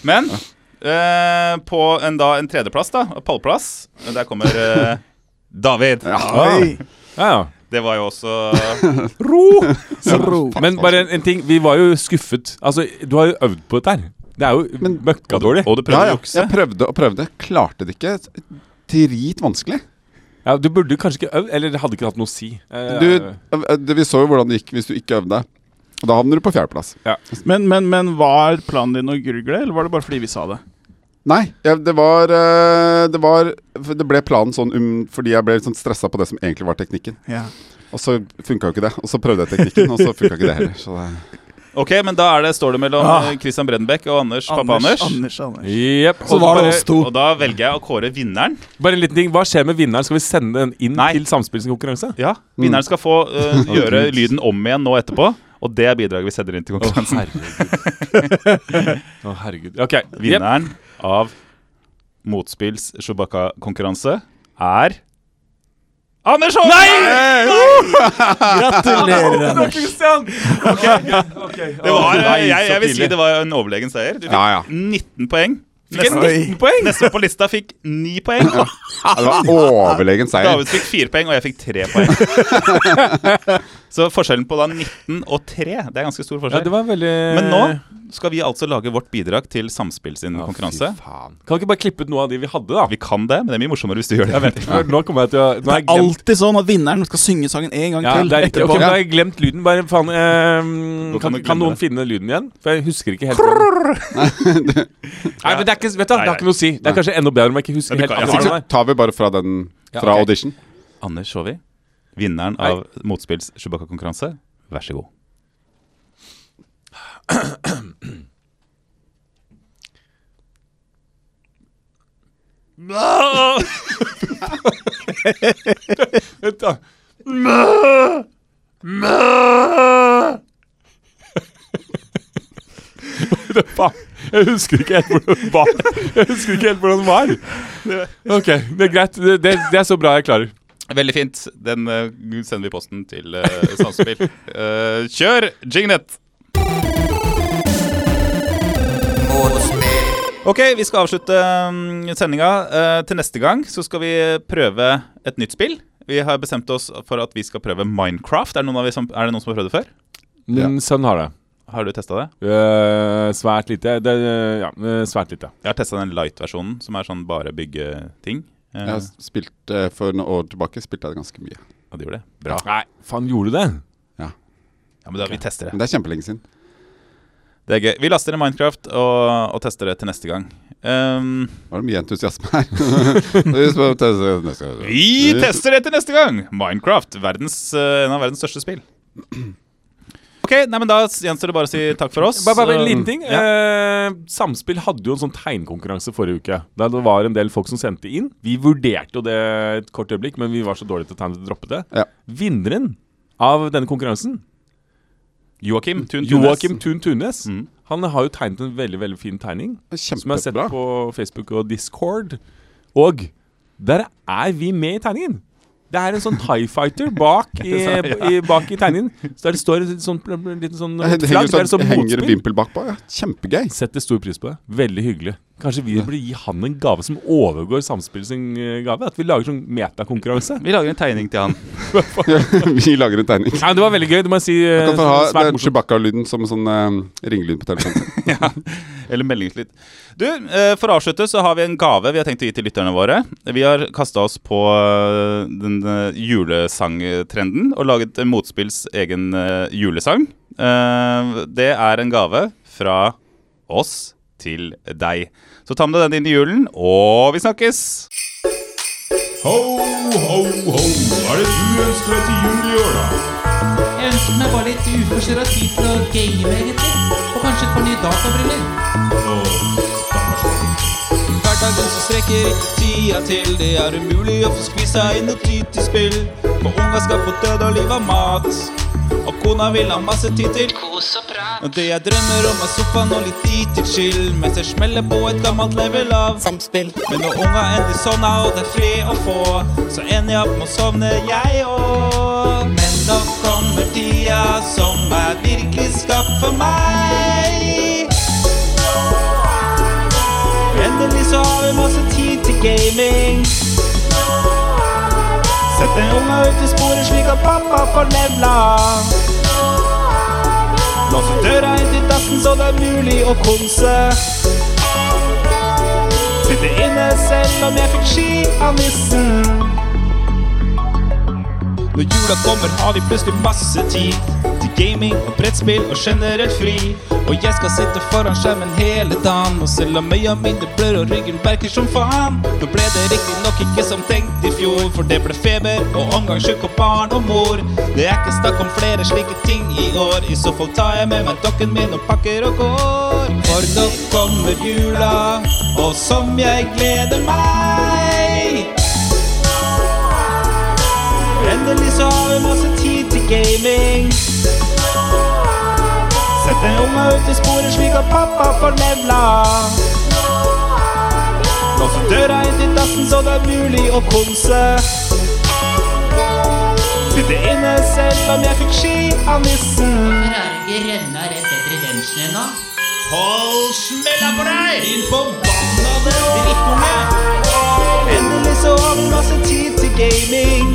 S4: Men eh, på en, da, en tredjeplass, da, pallplass, der kommer eh, David. Ah,
S6: Oi.
S3: ja, ja.
S4: Det var jo også
S6: Ro.
S3: Men bare en, en ting. Vi var jo skuffet. Altså, du har jo øvd på dette her. Det er jo møkkadårlig.
S4: Og du
S5: Ja,
S4: prøvde å
S5: ja.
S4: jukse.
S5: Jeg prøvde og prøvde. Klarte det ikke. Dritvanskelig.
S3: Ja, du burde kanskje ikke øvd, eller det hadde ikke hatt noe å si. Eh,
S5: Du, eh, det, vi så jo hvordan det gikk hvis du ikke øvde. Og Da havner du på fjerdeplass.
S6: Men, men, men var planen din å gurgle, eller var det bare fordi vi sa det?
S5: Nei, jeg, det var eh, Det var for Det ble planen sånn um, fordi jeg ble litt sånn stressa på det som egentlig var teknikken.
S6: Ja.
S5: Og så funka jo ikke det. Og så prøvde jeg teknikken, og så funka ikke det heller. Så det,
S4: Ok, men da er det, står det mellom
S6: Ah.
S4: eh, Christian Brendenbeck og Anders, pappa Anders.
S6: Anders, Anders.
S3: Jep.
S6: Så
S3: Og
S6: var det
S3: bare,
S6: oss to.
S4: Og da velger jeg å kåre vinneren.
S3: bare en liten ting. Hva skjer med vinneren? Skal vi sende den inn
S4: Nei.
S3: til Samspillets konkurranse?
S4: Ja, Vinneren skal få eh, gjøre
S5: Gud.
S4: lyden om igjen nå etterpå. Og det er bidraget vi sender inn til
S3: Å,
S4: konkurransen.
S3: herregud. Å, herregud. Ok. Jep.
S4: Vinneren av Motspills Chewbacca-konkurranse er Anders Holm!
S6: Gratulerer, Anders.
S3: Christian!
S4: Det var,
S3: Nei,
S4: jeg,
S3: så
S4: eh, jeg vil si
S3: tidlig.
S4: det var en overlegen seier. Du fikk
S5: Ja, ja.
S4: 19 poeng. Fikk en 19 poeng. Neste på lista fikk 9 poeng.
S5: Ja, det var overlegen seier.
S4: David fikk 4 poeng, og jeg fikk 3 poeng. Så forskjellen på da 19 og 3, det er ganske stor
S3: Ja, det
S4: forskjell.
S3: var veldig
S4: Men nå skal vi altså lage vårt bidrag til Samspill sin konkurranse.
S3: Eh. Fy faen. Kan vi ikke bare klippe ut noe av de vi hadde, da?
S4: Vi kan det, men det er mye morsommere hvis du gjør det.
S3: Jeg vet ikke, for Nå kommer jeg til å Nå har jeg glemt
S6: Alltid sånn at vinneren skal synge sangen en gang
S3: ja,
S6: til.
S3: det er riktig.
S6: etterpå.
S3: Ok, da har jeg glemt lyden. Bare faen eh,
S4: Da kan
S3: kan,
S4: du glemme
S3: kan noen
S4: det.
S3: finne lyden igjen? For jeg husker ikke helt. Nei, men det er ikke Vet du, hva, det har ikke noe å si. Det er kanskje enda bedre om jeg
S4: Ja,
S3: ikke husker
S4: du
S3: helt.
S4: kan- jeg har
S3: akkurat
S5: Så
S3: hva det er.
S5: tar vi bare fra den fra
S3: ok.
S5: audition.
S4: Anders Sjåvi, vinneren av Motspills Chewbacca-konkurranse, vær så god.
S3: Vent da. Hva er det faen? Jeg husker ikke helt hvordan det var. Jeg husker ikke helt hvordan det var. Ok, det er greit. Det, det, det er så bra jeg klarer.
S4: Veldig fint. Den eh, sender vi i posten til uh, Samspill. Eh, kjør Jignet! Ok, vi skal avslutte um, sendinga. Eh, til neste gang så skal vi prøve et nytt spill. Vi har bestemt oss for at vi skal prøve Minecraft. Er det noen, av vi som, er det noen som har prøvd det før?
S3: Min sønn har det.
S4: Har du testa det?
S3: Eh, svært lite. Det, ja, eh, svært lite.
S4: Jeg har testa den light-versjonen, som er sånn bare bygge ting. Eh,
S5: Jeg spilte For noen år tilbake spilte jeg det ganske mye.
S4: Og det gjorde det. Bra.
S3: Nei, faen, gjorde du det?
S4: Ja, men da, vi tester det.
S5: Men det er kjempelenge siden.
S4: Det er gøy. Vi laster ned Minecraft og, og tester det til neste gang. Ehm,
S5: Var det mye entusiasme her? Vi skal teste neste gang.
S4: vi
S3: Eh,
S4: tester det til neste gang! Minecraft. Verdens, eh, en av verdens største spill. Ok, nei, men Da gjenstår det bare å si takk for oss.
S3: Bare, bare en
S4: Eh,
S3: liten ting.
S4: Ja.
S3: Eh, Samspill hadde jo en sånn tegnkonkurranse forrige uke. Der det var en del folk som sendte inn. Vi vurderte jo det et kort øyeblikk, men vi var så dårlige til å tegne at vi droppet det.
S5: Ja.
S3: Vinneren av denne konkurransen,
S4: Joakim Tun Tunes.
S3: Joakim Tun Tunes,
S5: Mm.
S3: han har jo tegnet en veldig veldig fin tegning. Som jeg har sett
S5: Kjempebra.
S3: på Facebook og Discord. Og der er vi med i tegningen! Det er en sånn Tie Fighter bak i, i, bak i tegningen. Så der det står en sånn, en liten sånn
S5: Det henger
S3: flagg. Det er
S5: sånn-
S3: en sånn
S5: henger
S3: motspill.
S5: vimpel bakpå. Ja. Kjempegøy.
S3: Setter stor pris på det. Veldig hyggelig. Kanskje vi burde gi han en gave som overgår Samspill sin eh, gave? At vi lager sånn metakonkurranse?
S4: Vi lager en tegning til han.
S5: Vi lager en tegning.
S3: Nei, men det var veldig gøy. Det må jeg si. eh,
S5: Kan få ha
S3: svært
S5: den
S3: morsomt.
S5: Chewbacca-lyden som sånn eh, ringelyd på telefonen.
S4: Eller meldingslyd. Du, eh, For å avslutte så har vi en gave vi har tenkt å gi til lytterne våre. Vi har kasta oss på eh, den eh, julesangtrenden og laget eh, Motspills egen eh, julesang. Eh, Det er en gave fra oss til deg. Så ta med deg den inn i julen, og vi snakkes!
S7: Ho, ho, ho. Hva er det du ønsker deg til jul i år, da?
S8: Jeg ønsker meg bare litt uforstyrra tid til å game, egentlig. Og kanskje et par nye databriller. Hverdagen som strekker ikke tida til Det er umulig å få skvisa inn noe tid til spill For unga skal få død og liv av mat Og kona vil ha masse tid til Kos og prat Og det jeg drømmer om er sofaen og litt tid til chill Mens jeg smeller på et gammelt level av Samspill Men når unga endelig sovna og det er fred å få Så ender jeg opp med å sovne jeg òg Men nå kommer tida som er virkelig skapt for meg Endelig så har vi masse tid til gaming. Sett den unga ut i sporet slik at pappa får levla. Lås ut døra inn til dassen så det er mulig å konse. Sitte inne selv om jeg fikk ski av nissen. Når jula kommer har vi plutselig masse tid Til gaming og brettspill og generelt fri Og jeg skal sitte foran skjermen hele dagen Og selv om øya mine blør og ryggen verker som faen Nå ble det riktig nok ikke som tenkt i fjor For det ble feber og omgangssjuk og barn og mor Det er ikke snakk om flere slike ting i år I så fall tar jeg med meg dokken min og pakker og går For nå kommer jula Og som jeg gleder meg Endelig så har vi masse tid til gaming. Sett den unga ut i sporet slik at pappa får levla. Lås ut døra inn til dassen så det er mulig å konse. Sitte inne selv om jeg fikk ski av nissen.
S9: Hvorfor er det ikke renna rett etter redemption ennå?
S7: Hold smella på deg!
S8: Din forbannede drittunge. Endelig så har du masse tid til gaming.